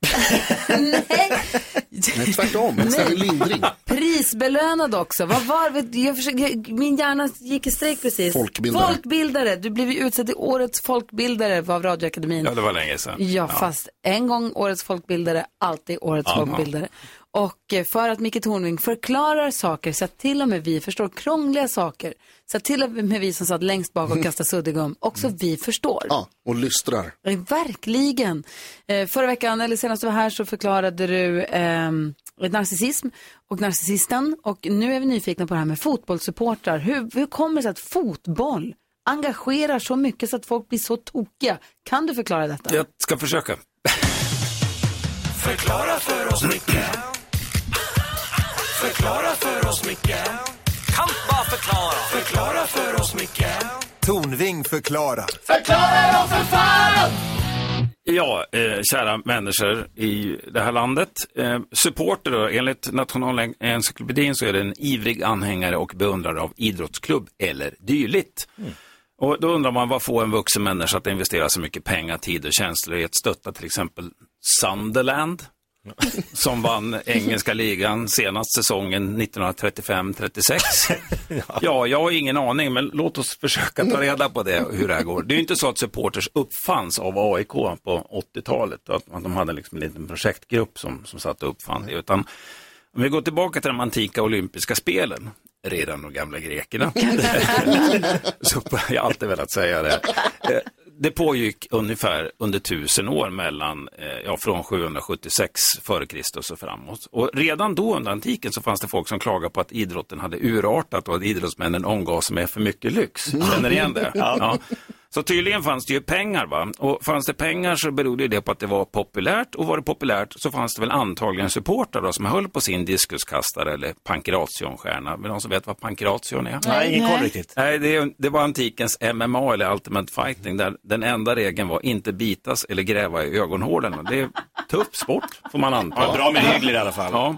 [SPEAKER 3] Nej, tvärtom, en ständig lindring.
[SPEAKER 2] Prisbelönad också. Vad var det? Jag försökte, jag, min hjärna gick i strejk precis.
[SPEAKER 3] Folkbildare.
[SPEAKER 2] Folkbildare. Du blev ju utsedd till årets folkbildare av Radioakademin.
[SPEAKER 10] Ja, det var länge sedan.
[SPEAKER 2] Ja, fast en gång årets folkbildare, alltid årets
[SPEAKER 10] Aha.
[SPEAKER 2] folkbildare. Och eh, för att Micke Tornving förklarar saker så att till och med vi förstår krångliga saker, så att till och med vi som satt längst bak och kastade suddgum, också vi förstår.
[SPEAKER 3] Ja, och lystrar.
[SPEAKER 2] Eh, Verkligen. Eh, förra veckan, eller senast du var här, så förklarade du eh, narcissism och narcissisten. Och nu är vi nyfikna på det här med fotbollssupportrar. Hur, hur kommer det sig att fotboll engagerar så mycket så att folk blir så tokiga? Kan du förklara detta?
[SPEAKER 10] Jag ska försöka.
[SPEAKER 11] Tornving förklarar.
[SPEAKER 10] Ja, eh, kära människor i det här landet. Eh, supporter, då, enligt Nationalencyklopedin så är det en ivrig anhängare och beundrare av idrottsklubb eller dylikt.
[SPEAKER 3] Mm.
[SPEAKER 10] Och då undrar man, vad får en vuxen människa att investera så mycket pengar, tid och känslor i att stötta till exempel Sunderland? som vann engelska ligan senast säsongen 1935-36. Ja, jag har ingen aning, men låt oss försöka ta reda på det, hur det här går. Det är ju inte så att supporters uppfanns av AIK på 80-talet, att man- de hade liksom en liten projektgrupp som, som satt och uppfann det, utan om vi går tillbaka till de antika olympiska spelen, redan de gamla grekerna. Så jag har alltid velat säga det. Eh, Det pågick ungefär under tusen år mellan, eh, ja, från 776 före Kristus och framåt. Och redan då under antiken så fanns det folk som klagade på att idrotten hade urartat och att idrottsmännen omgav sig med för mycket lyx. Känner ni igen det? Ja. Så tydligen fanns det ju pengar va. Och fanns det pengar så berodde ju det på att det var populärt och var det populärt så fanns det väl antagligen supportrar då som höll på sin diskuskastare eller pankerationstjärna. Men någon som vet vad pankration är?
[SPEAKER 4] Nej, ingen koll riktigt.
[SPEAKER 10] Nej, det, det var antikens MMA eller Ultimate Fighting där den enda regeln var inte bitas eller gräva i ögonhålen. Det är tuff sport får man anta.
[SPEAKER 4] Ja, bra med regler i alla fall.
[SPEAKER 10] Ja.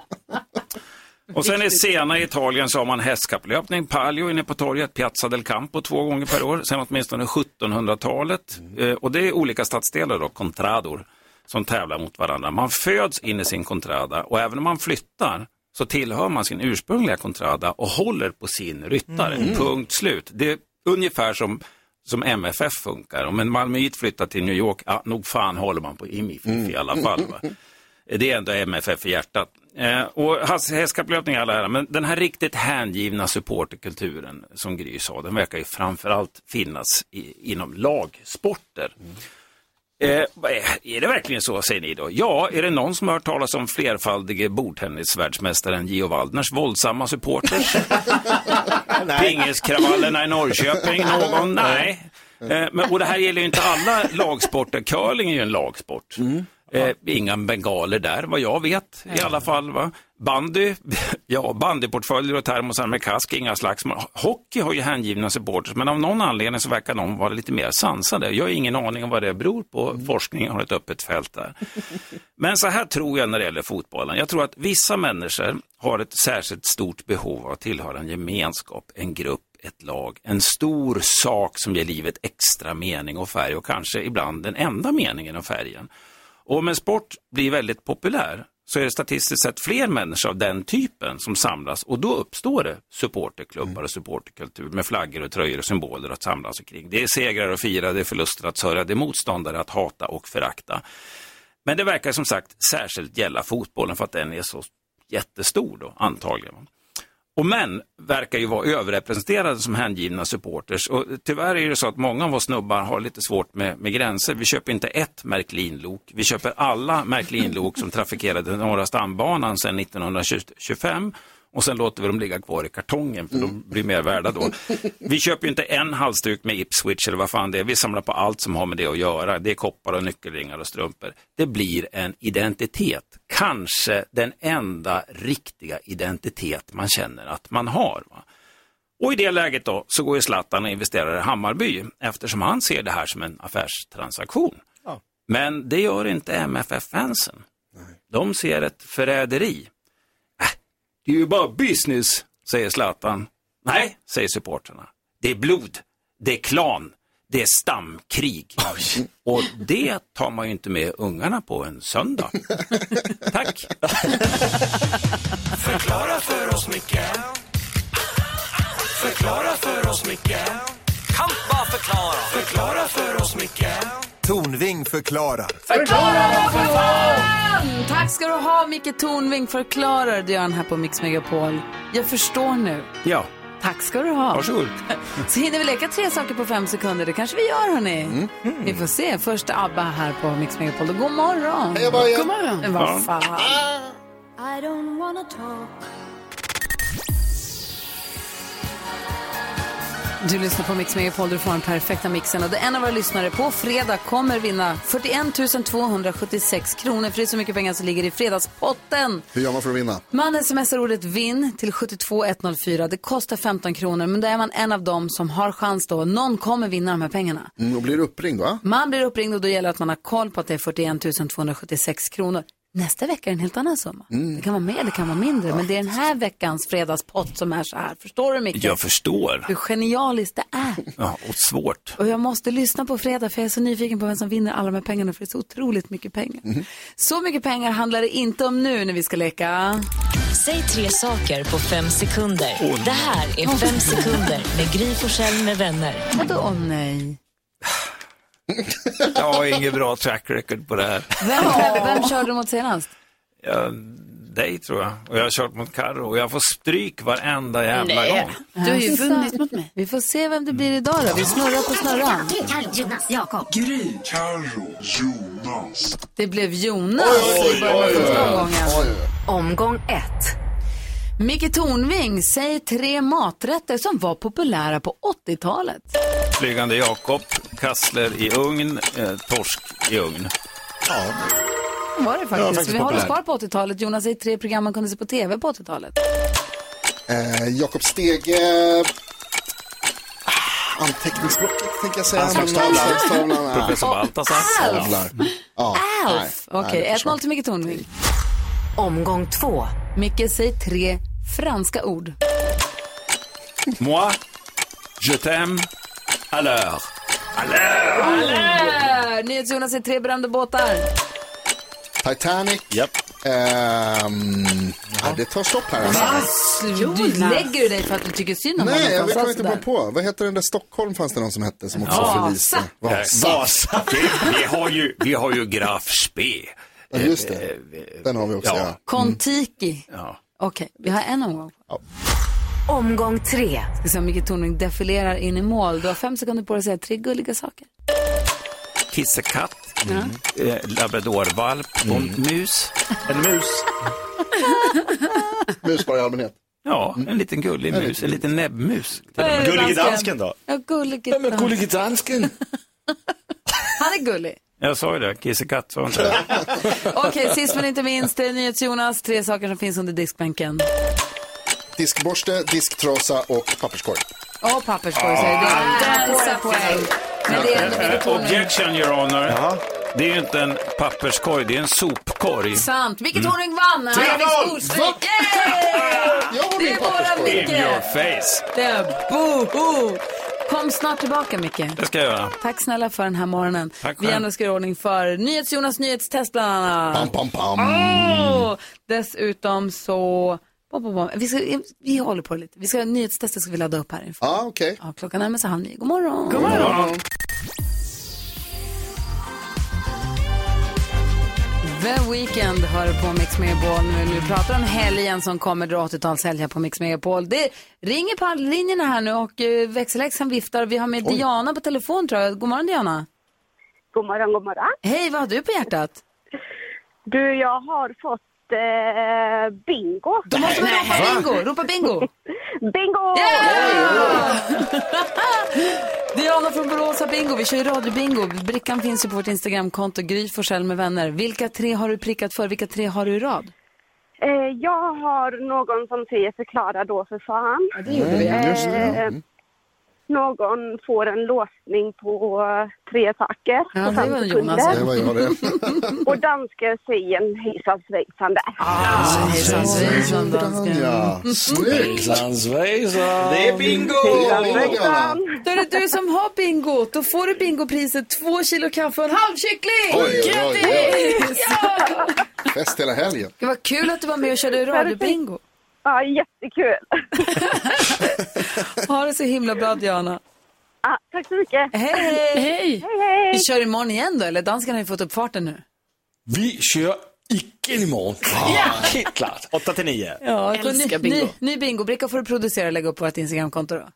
[SPEAKER 10] Och sen i sena i Italien så har man hästkapplöpning, palio inne på torget, Piazza del Campo två gånger per år, sen åtminstone 1700-talet. Eh, och det är olika stadsdelar då, contrador, som tävlar mot varandra. Man föds in i sin contrada och även om man flyttar så tillhör man sin ursprungliga contrada och håller på sin ryttare. Punkt slut. Det är ungefär som som MFF funkar. Om en malmöit flyttar till New York, ah, nog fan håller man på IMIF i alla fall. Va? Det är ändå MFF i hjärtat. Eh, och häst- hästkapplöpning i alla ära, men den här riktigt hängivna supporterkulturen som Gry sa, den verkar ju framförallt finnas i, inom lagsporter. Eh, vad är- är det verkligen så, säger ni då? Ja, är det någon som har hört talas om flerfaldige bordtennisvärldsmästaren Gio Waldners våldsamma supporters? Pingiskravallerna i Norrköping, någon? Nej. Eh, men, och det här gäller ju inte alla lagsporter. Curling är ju en lagsport. Eh, inga bengaler där, vad jag vet i alla fall. Va? Bandy, ja, bandyportföljer och termosar med kask, inga slagsmål. Hockey har ju hängivna supporters, men av någon anledning så verkar de vara lite mer sansade. Jag har ingen aning om vad det beror på. Forskningen har ett öppet fält där. Men så här tror jag när det gäller fotbollen. Jag tror att vissa människor har ett särskilt stort behov av att tillhöra en gemenskap, en grupp, ett lag, en stor sak som ger livet extra mening och färg och kanske ibland den enda meningen och färgen. Och om en sport blir väldigt populär så är det statistiskt sett fler människor av den typen som samlas och då uppstår det supporterklubbar och supporterkultur med flaggor och tröjor och symboler att samlas kring. Det är segrar att fira, det är förluster att sörja, det är motståndare att hata och förakta. Men det verkar som sagt särskilt gälla fotbollen för att den är så jättestor då, antagligen. Och män verkar ju vara överrepresenterade som hängivna supporters. Och tyvärr är det så att många av oss snubbar har lite svårt med, med gränser. Vi köper inte ett Märklin-lok. Vi köper alla Märklin-lok som trafikerade Norra stambanan sedan 1925. Och sen låter vi dem ligga kvar i kartongen, för de blir mer värda då. Vi köper ju inte en halsduk med Ipswich eller vad fan det är. Vi samlar på allt som har med det att göra. Det är koppar och nyckelringar och strumpor. Det blir en identitet. Kanske den enda riktiga identitet man känner att man har. Va? Och i det läget då så går ju Zlatan och investerar i Hammarby eftersom han ser det här som en affärstransaktion. Men det gör inte MFF-fansen. De ser ett förräderi. Äh, det är ju bara business, säger Zlatan. Nej, säger supporterna. Det är blod, det är klan, det är stamkrig. Och det tar man ju inte med ungarna på en söndag. Tack!
[SPEAKER 6] Förklara för oss, Micke. Förklara för oss, Micke. Kan bara förklara. Förklara för oss, Micke.
[SPEAKER 11] Tornving förklarar.
[SPEAKER 2] Tack ska du ha, Micke Tornving. Förklarar det gör han här på Mix Megapol. Jag förstår nu.
[SPEAKER 10] Ja,
[SPEAKER 2] Tack ska du ha.
[SPEAKER 10] varsågod.
[SPEAKER 2] Så hinner vi leka tre saker på fem sekunder. Det kanske vi gör, hörni. Vi får se. Först ABBA här på Mix Megapol. God morgon.
[SPEAKER 3] Hej, Abaja.
[SPEAKER 2] God morgon. Men vad fan. Du lyssnar på Mix Megapol, du får den perfekta mixen. Och det en av våra lyssnare på fredag kommer vinna 41 276 kronor. För det är så mycket pengar som ligger i fredagspotten.
[SPEAKER 3] Hur gör man för att vinna?
[SPEAKER 2] Man smsar ordet vinn till 72104. Det kostar 15 kronor, men då är man en av dem som har chans då. Någon kommer vinna de här pengarna.
[SPEAKER 3] Mm, och blir uppringd va?
[SPEAKER 2] Man blir uppringd och då gäller att man har koll på att det är 41 276 kronor. Nästa vecka är det en helt annan summa.
[SPEAKER 10] Mm.
[SPEAKER 2] Det kan vara mer, det kan vara mindre. Men det är den här veckans fredagspott som är så här. Förstår du Micke?
[SPEAKER 10] Jag förstår.
[SPEAKER 2] Hur genialiskt det är.
[SPEAKER 10] Ja, och svårt.
[SPEAKER 2] Och jag måste lyssna på fredag för jag är så nyfiken på vem som vinner alla de här pengarna för det är så otroligt mycket pengar. Så mycket pengar handlar det inte om nu när vi ska leka.
[SPEAKER 12] Säg tre saker på fem sekunder. Det här är fem sekunder med Gry Forssell med vänner.
[SPEAKER 2] Vadå om nej?
[SPEAKER 10] Jag har ingen bra track record på det här.
[SPEAKER 2] Vem, vem körde du mot senast?
[SPEAKER 10] Jag, dig tror jag. Och jag har kört mot Carro och jag får stryk varenda jävla gång.
[SPEAKER 5] Du har ju
[SPEAKER 2] Alltså,
[SPEAKER 5] vunnit mot mig.
[SPEAKER 2] Vi får se vem det blir idag då. Vi snurrar på snurran.
[SPEAKER 12] Jonas, Jakob.
[SPEAKER 6] Gry, Carro, Jonas.
[SPEAKER 2] Det blev Jonas
[SPEAKER 6] Oj,
[SPEAKER 2] i början av
[SPEAKER 6] oj, oj,
[SPEAKER 2] första
[SPEAKER 6] oj.
[SPEAKER 2] omgången. Omgång ett. Micke Tornving, säg tre maträtter som var populära på 80-talet.
[SPEAKER 10] Flygande Jakob, kassler i ugn, eh, torsk i ugn. Ja.
[SPEAKER 2] var det faktiskt.
[SPEAKER 10] faktiskt
[SPEAKER 2] vi har oss
[SPEAKER 10] populär.
[SPEAKER 2] kvar på 80-talet. Jonas, säg tre program man kunde se på tv på 80-talet.
[SPEAKER 3] Eh, Jakob Stege. Anteckningsblocket tänker jag säga.
[SPEAKER 2] Anslagstavlan.
[SPEAKER 3] Men anslagstavlan, ja.
[SPEAKER 10] Professor Baltasar.
[SPEAKER 3] Jävlar. Ja, nej.
[SPEAKER 2] Alf! Okej, 1-0 till Micke Tornving. Omgång två. Micke, säg tre franska ord.
[SPEAKER 10] Moi, je t'aime, à l'heure. À l'heure!
[SPEAKER 2] Alla! NyhetsJonas säg tre berömda båtar.
[SPEAKER 3] Titanic. Yep. ja, det tar stopp här. alltså.
[SPEAKER 2] Du lägger dig för att du tycker synd om
[SPEAKER 3] Nej, jag
[SPEAKER 2] honom.
[SPEAKER 3] kommer inte komma på. Vad heter den där Stockholm fanns det någon som hette som också
[SPEAKER 10] Ja. Eh,
[SPEAKER 3] var förliste?
[SPEAKER 10] Vasa. Vi, vi, har ju, vi har ju Graf Spee.
[SPEAKER 3] Ja, just det. Den har vi också, ja.
[SPEAKER 2] Kontiki.
[SPEAKER 10] Ja.
[SPEAKER 2] Okej, vi har en omgång. Omgång tre. Ska se om Micke Tornving defilerar in i mål. Du har fem sekunder på dig att säga tre gulliga saker.
[SPEAKER 10] Kissekatt, eh, labradorvalp och mus. Mm. En mus.
[SPEAKER 3] mus bara i allmänhet.
[SPEAKER 10] Ja, en liten gullig mus, en liten näbbmus.
[SPEAKER 2] Vad är det,
[SPEAKER 4] Gullige dansken då?
[SPEAKER 2] Ja, gullig.
[SPEAKER 4] dansken?
[SPEAKER 2] Han är gullig.
[SPEAKER 10] Jag sa ju det, kissekatt sa jag inte det?
[SPEAKER 2] Okej, sist men inte minst, det är NyhetsJonas. Tre saker som finns under diskbänken.
[SPEAKER 3] Diskborste, disktrasa och papperskorg.
[SPEAKER 2] Och papperskorg säger du. Där får jag poäng. Men det är ändå Micke
[SPEAKER 10] Eh,
[SPEAKER 2] Tornving.
[SPEAKER 10] Objection your honor. Det är ju inte en papperskorg, det är en sopkorg.
[SPEAKER 2] Sant. Micke
[SPEAKER 10] Mm.
[SPEAKER 2] Tornving vann. Han fick
[SPEAKER 10] 3-0.
[SPEAKER 2] storstryk. Yay! Det är våran
[SPEAKER 10] In your
[SPEAKER 2] Micke.
[SPEAKER 10] face.
[SPEAKER 2] Det är boho. Kom snart tillbaka, Micke.
[SPEAKER 10] Det ska jag göra.
[SPEAKER 2] Tack snälla för den här morgonen.
[SPEAKER 10] Tack
[SPEAKER 2] Vi
[SPEAKER 10] själv.
[SPEAKER 2] ändå ska göra ordning för NyhetsJonas nyhetstest bland annat.
[SPEAKER 3] Pam, pam, pam.
[SPEAKER 2] Åh! Dessutom så... bom, bom, bom. Vi, ska, vi håller på lite. Vi ska, nyhetstestet ska vi ladda upp här inför.
[SPEAKER 3] Ja, Ah, okej.
[SPEAKER 2] Ja, klockan närmar sig halv nio. God morgon. God
[SPEAKER 10] morgon.
[SPEAKER 2] The Weeknd hör på Mix Megapol nu. Vi pratar om helgen som kommer, dra 80-talshelg här på Mix Megapol. Det ringer på alla linjerna här nu och eh, växelhäxan viftar. Vi har med Diana på telefon tror jag. God morgon Diana.
[SPEAKER 13] God morgon, god morgon.
[SPEAKER 2] Hej, vad har du på hjärtat?
[SPEAKER 13] Du, jag har fått eh, bingo.
[SPEAKER 2] Då måste vi ropa Va? bingo. Ropa bingo.
[SPEAKER 13] bingo!
[SPEAKER 2] Diana från Borås har bingo. Vi kör ju radiobingo. Brickan finns ju på vårt Instagramkonto, Gry Forssell med vänner. Vilka tre har du prickat för? Vilka tre har du i rad?
[SPEAKER 13] Eh, jag har någon som säger förklara då för fan. Eh,
[SPEAKER 2] det gjorde vi. Mm, just det, ja. Mm.
[SPEAKER 13] Någon får en låsning på eh, tre saker.
[SPEAKER 2] Ja,
[SPEAKER 13] på
[SPEAKER 2] det
[SPEAKER 13] fem
[SPEAKER 2] var Jonas.
[SPEAKER 13] sekunder.
[SPEAKER 2] Det var jag det.
[SPEAKER 13] Och danskar säger en hejsan svejsan där.
[SPEAKER 2] Ah, hejsan svejsan dansken.
[SPEAKER 3] Ja, snyggt.
[SPEAKER 4] Det är bingo!
[SPEAKER 2] Då är det du som har bingo. Då får du bingopriset två kilo kaffe och en halv kyckling.
[SPEAKER 3] Oj, oj, oj.
[SPEAKER 2] Grattis! Ja!
[SPEAKER 3] Fest hela helgen.
[SPEAKER 2] Det var kul att du var med och körde radiobingo.
[SPEAKER 13] Ja, jättekul.
[SPEAKER 2] Ha det så himla bra Diana.
[SPEAKER 13] Ja, tack så mycket.
[SPEAKER 2] Hej!
[SPEAKER 13] Hej, hej.
[SPEAKER 2] Vi kör imorgon igen då, eller? Dansken har ju fått upp farten nu.
[SPEAKER 4] Vi kör igen imorgon. Ja. Helt klart. 8 till 9.
[SPEAKER 2] Ja, så
[SPEAKER 4] Älskar
[SPEAKER 2] ny,
[SPEAKER 4] bingo.
[SPEAKER 2] Ny, ny bingobricka får du producera och lägga upp på vårt Instagramkonto då.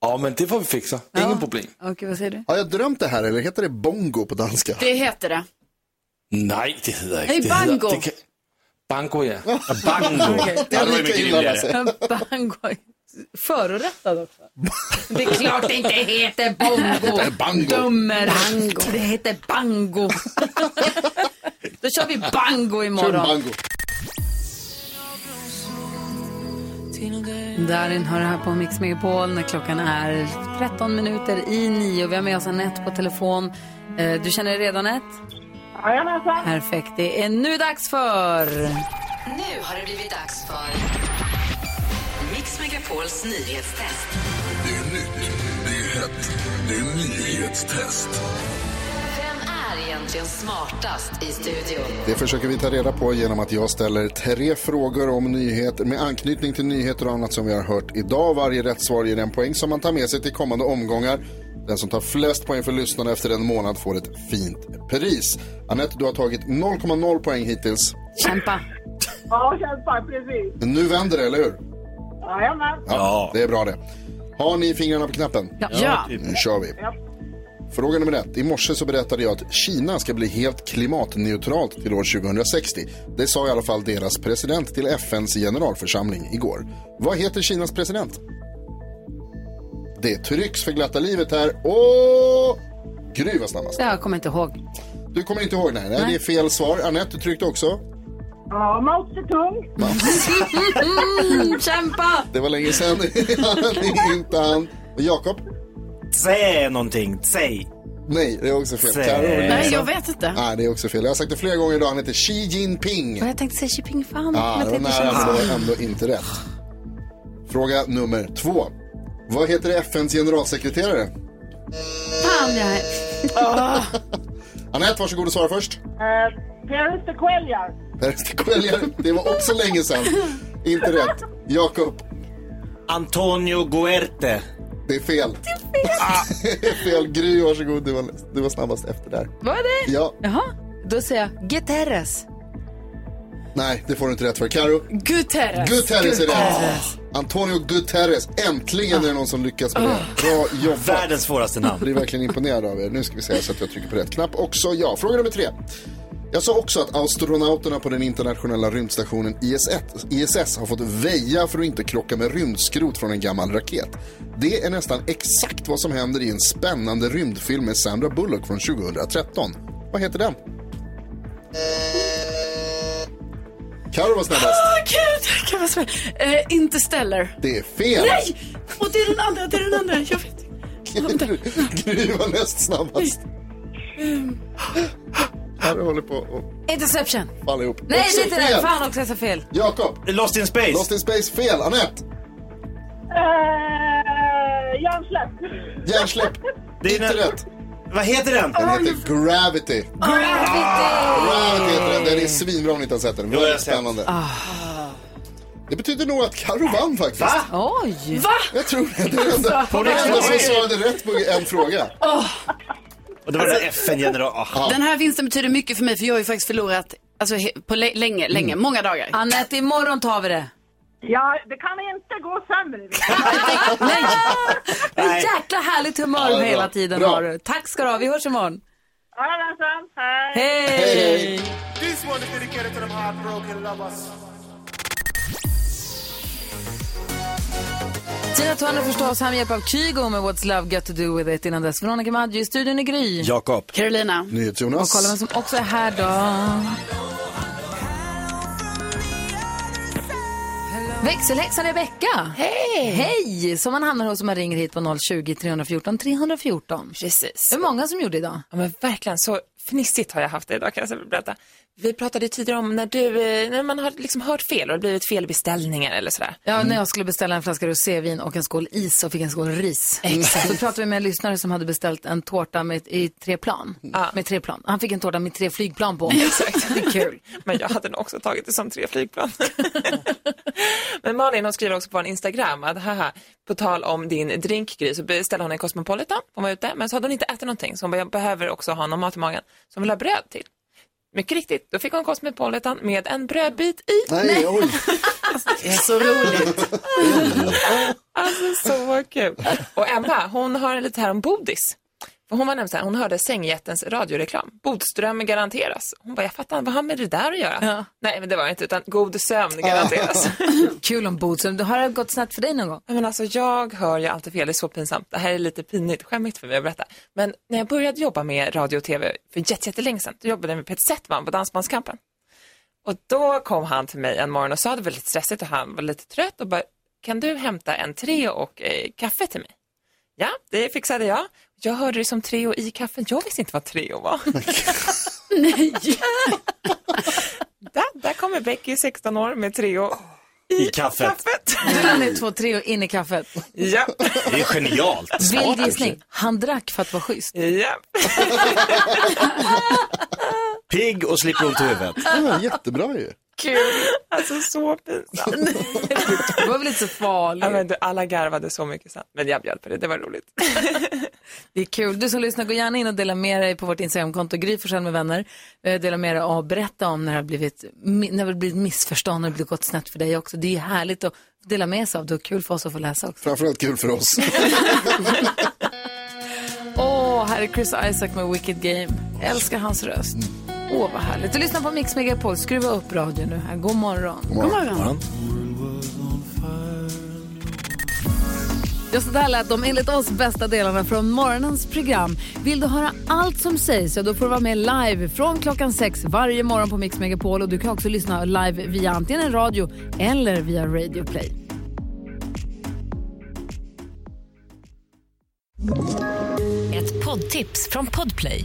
[SPEAKER 4] Ja, men det får vi fixa. Ingen problem.
[SPEAKER 2] Okej, vad säger du?
[SPEAKER 3] Har jag drömt det här eller heter det bongo på danska?
[SPEAKER 5] Det heter det.
[SPEAKER 4] Nej, det hedder ikke.
[SPEAKER 5] Nej,
[SPEAKER 4] det hedder-
[SPEAKER 5] bango.
[SPEAKER 4] Det kan... Bango, ja. Ja, Bango.
[SPEAKER 2] Okay.
[SPEAKER 4] Ja, det var mycket rimligere.
[SPEAKER 2] En Bango. Förorättad också. Det är klart det inte heter bongo.
[SPEAKER 6] Det är bango.
[SPEAKER 2] Dummer. Det heter bango. Då kör vi bango imorgon. Darin hör här på Mix Megapol när klockan är 13 minuter i nio. Vi har med oss Anette på telefon. Eh, Du känner dig redan ett?
[SPEAKER 9] Jajamensan.
[SPEAKER 2] Perfekt. Det är nu dags för...
[SPEAKER 12] Nu har det blivit dags för Mix Megapols nyhetstest.
[SPEAKER 6] Det är nytt, det är hett, det är nyhetstest.
[SPEAKER 12] Vem är egentligen smartast i studion?
[SPEAKER 3] Det försöker vi ta reda på genom att jag ställer tre frågor om nyheter med anknytning till nyheter och annat som vi har hört idag. Varje rätt svar ger en poäng som man tar med sig till kommande omgångar. Den som tar flest poäng för lyssnarna efter en månad får ett fint pris. Anette, du har tagit 0,0 poäng hittills.
[SPEAKER 2] Kämpa.
[SPEAKER 9] Ja, kämpa, precis.
[SPEAKER 3] Nu vänder det, eller hur?
[SPEAKER 9] Jajamän.
[SPEAKER 3] Ja. Det är bra det. Har ni fingrarna på knappen?
[SPEAKER 9] Ja. typ. Ja.
[SPEAKER 3] Nu kör vi.
[SPEAKER 9] Ja.
[SPEAKER 3] Fråga nummer ett. I morse så berättade jag att Kina ska bli helt klimatneutralt till år 2060. Det sa i alla fall deras president till FNs generalförsamling igår. Vad heter Kinas president? Det trycks för glatta livet här. Åh! Gry var snabbast.
[SPEAKER 2] Jag kommer inte ihåg.
[SPEAKER 3] Du kommer inte ihåg? Nej, nej, det är fel svar. Anette, du tryckte också.
[SPEAKER 9] Ja, Mao Zedong.
[SPEAKER 2] Mm, kämpa!
[SPEAKER 3] Det var länge sedan. det är inte han. Och Jakob?
[SPEAKER 4] Säg någonting, säg.
[SPEAKER 3] Nej, det är också fel.
[SPEAKER 4] Säg.
[SPEAKER 3] Caroline.
[SPEAKER 5] Nej, jag vet inte.
[SPEAKER 3] Nej, det är också fel. Jag har sagt det flera gånger idag. Han heter Xi Jinping.
[SPEAKER 2] Jag tänkte säga Xi Jinping-fan.
[SPEAKER 3] Ja, Ah, det var nära, men det var ändå inte rätt. Fråga nummer två. Vad heter FNs generalsekreterare?
[SPEAKER 2] Fan, jag är...
[SPEAKER 3] Anette, varsågod och svara först.
[SPEAKER 9] Eh, Paris de Cuellar.
[SPEAKER 3] Peres de Cuellar. Det var också länge sedan. Inte rätt. Jakob.
[SPEAKER 4] Antonio Guerte.
[SPEAKER 3] Det är fel. Det är fel. Gry, varsågod. Du var, du var snabbast efter där.
[SPEAKER 2] Var det?
[SPEAKER 3] Ja,
[SPEAKER 2] Jaha. Då säger jag Guterres.
[SPEAKER 3] nej, det får du inte rätt för. Karo.
[SPEAKER 5] Guterres.
[SPEAKER 3] Guterres är rätt. Antonio Guterres. Äntligen är det någon som lyckas med det. Bra jobbat.
[SPEAKER 4] Världens svåraste namn.
[SPEAKER 3] Jag blir verkligen imponerad av er. Nu ska vi se så att jag trycker på rätt knapp också. Ja, fråga nummer tre. Jag sa också att astronauterna på den internationella rymdstationen E ISS, ISS har fått väja för att inte krocka med rymdskrot från en gammal raket. Det är nästan exakt vad som händer i en spännande rymdfilm med Sandra Bullock från 2013. Vad heter den? Carro var snabbast.
[SPEAKER 5] Åh, gud, jag kan vara svär. Eh, Interstellar.
[SPEAKER 3] Det är fel.
[SPEAKER 5] Nej! Och det är den andra, det är den andra. Jag vet inte.
[SPEAKER 3] Gry var näst snabbast. Carro håller på att
[SPEAKER 2] Interception.
[SPEAKER 3] falla ihop.
[SPEAKER 2] Nej,
[SPEAKER 3] Också
[SPEAKER 2] det är inte
[SPEAKER 3] fel.
[SPEAKER 2] den. Fan också, jag sa fel.
[SPEAKER 3] Jakob.
[SPEAKER 4] Lost in space.
[SPEAKER 3] Lost in space fel. Anette.
[SPEAKER 9] Eh, Järnsläpp.
[SPEAKER 3] Hjärnsläpp.
[SPEAKER 4] Det är
[SPEAKER 3] Inte
[SPEAKER 4] den-
[SPEAKER 3] rätt.
[SPEAKER 4] Vad heter den?
[SPEAKER 3] Den heter Gravity. Gravity heter den. Den är svinbra om ni inte har sett den.
[SPEAKER 4] jag har
[SPEAKER 3] Väldigt
[SPEAKER 4] sett.
[SPEAKER 3] spännande. Det betyder nog att Carro vann
[SPEAKER 4] Ah.
[SPEAKER 3] faktiskt.
[SPEAKER 2] Oj.
[SPEAKER 3] Jag tror det. Det är den
[SPEAKER 2] Alltså.
[SPEAKER 3] enda, den enda som svarade rätt på en fråga. Alltså-
[SPEAKER 4] Och det var den FN-general... Ah.
[SPEAKER 5] Den här vinsten betyder mycket för mig för jag har ju faktiskt förlorat alltså, he- på lä- länge, länge,
[SPEAKER 3] Mm.
[SPEAKER 5] många dagar.
[SPEAKER 2] Anette, imorgon tar vi det.
[SPEAKER 9] Ja, det kan inte gå sämre.
[SPEAKER 2] Nej.
[SPEAKER 4] Nej.
[SPEAKER 2] Jäkla härligt humör
[SPEAKER 3] Ja, det är
[SPEAKER 2] hela
[SPEAKER 3] bra.
[SPEAKER 2] tiden
[SPEAKER 3] Bra.
[SPEAKER 2] har du. Tack ska du ha. Vi hörs imorgon.
[SPEAKER 9] Jajamensan. Hej.
[SPEAKER 2] Hej!
[SPEAKER 3] Hej.
[SPEAKER 6] This one is dedicated to them heartbroken lovers.
[SPEAKER 2] Tina Turner förstås här med hjälp av Kygo med What's Love Got To Do With It. Innan dess Veronica Maggio i studion i Gry.
[SPEAKER 4] Jakob.
[SPEAKER 5] Carolina.
[SPEAKER 3] NyhetsJonas.
[SPEAKER 2] Kolla vem som också är här då. Växelhäxan Rebecka. Hej! Hej! Som man hamnar hos om man ringer hit på 020-314 314.
[SPEAKER 14] Precis.
[SPEAKER 2] Det är många som gjorde idag.
[SPEAKER 14] Ja, men verkligen, så fnissigt har jag haft det idag kan jag berätta. Vi pratade ju tidigare om när, du, eh, när man har liksom hört fel och det har blivit felbeställningar eller sådär.
[SPEAKER 2] Ja, när jag skulle beställa en flaska rosévin och en skål is och fick en skål ris. Så pratade vi med en lyssnare som hade beställt en tårta med, i tre plan. Med tre plan. Han fick en tårta med tre flygplan på. Exakt. Det är kul.
[SPEAKER 14] Men jag hade nog också tagit det som tre flygplan. Men Malin hon skriver också på en Instagram att haha, på tal om din drink Gry, så beställde hon en Cosmopolitan, hon var ute, men så hade hon inte ätit någonting så hon bara, jag behöver också ha någon mat i magen som vill ha bröd till. Mycket riktigt, då fick hon Cosmopolitan med en brödbit i.
[SPEAKER 3] Nej, oj.
[SPEAKER 5] Det är så roligt.
[SPEAKER 14] Alltså så kul. Och Emma, hon har lite här om bodis. För hon var nämligen så här, hon hörde sängjättens radioreklam. Bodström garanteras. Hon bara, jag fattar vad har med det där att göra? Nej, men det var det inte, utan god sömn garanteras.
[SPEAKER 2] Kul om Bodström. Har det gått snett för dig någon gång?
[SPEAKER 14] Nej, Men alltså jag hör ju alltid fel, det är så pinsamt. Det här är lite pinigt, skämmigt för mig att berätta. Men när jag började jobba med radio och tv för jätte- jättelänge sedan, då jobbade jag med Peter Settman på Dansbandskampen. Och då kom han till mig en morgon och sa, det var lite stressigt och han var lite trött och bara, kan du hämta en Treo och eh, kaffe till mig? Ja, det fixade jag. Jag hörde det som Treo i kaffen, jag visste inte vad Treo var.
[SPEAKER 2] Nej!
[SPEAKER 14] där, där kommer Becky, 16 år, med Treo
[SPEAKER 4] i kaffet.
[SPEAKER 2] Du la ner två, tre och in i kaffet.
[SPEAKER 14] Ja.
[SPEAKER 4] Det är genialt.
[SPEAKER 2] Vild gissning. Han drack för att vara schysst.
[SPEAKER 14] Ja.
[SPEAKER 4] Pigg och slipper ont i huvudet.
[SPEAKER 3] Ja, jättebra ju.
[SPEAKER 14] Kul. Alltså så pinsamt.
[SPEAKER 2] det var väl inte så farligt?
[SPEAKER 14] Ja, men du, alla garvade så mycket sen. Men jag bjöd på det, det var roligt.
[SPEAKER 2] Det är kul. Du som lyssnar, gå gärna in och dela med dig på vårt Instagramkonto, Gry Forssell med vänner. Eh, Dela med dig och berätta om när det har blivit, mi- när det har blivit missförstånd och det har gått snett för dig också. Det är ju härligt att dela med sig av. Det är kul för oss att få läsa också.
[SPEAKER 3] Framförallt kul för oss.
[SPEAKER 2] Åh, här är Chris Isaac med Wicked Game. Älskar hans röst.
[SPEAKER 6] Mm.
[SPEAKER 2] Åh, vad härligt. Du lyssnar på Mix Megapol. Skruva upp radion nu här. God morgon.
[SPEAKER 6] God morgon. God morgon.
[SPEAKER 2] Ja, så där lät de enligt oss bästa delarna från morgonens program. Vill du höra allt som sägs så då får du vara med live från klockan sex varje morgon på Mix Megapol. Och du kan också lyssna live via antingen radio eller via Radio Play.
[SPEAKER 12] Ett poddtips från Podplay.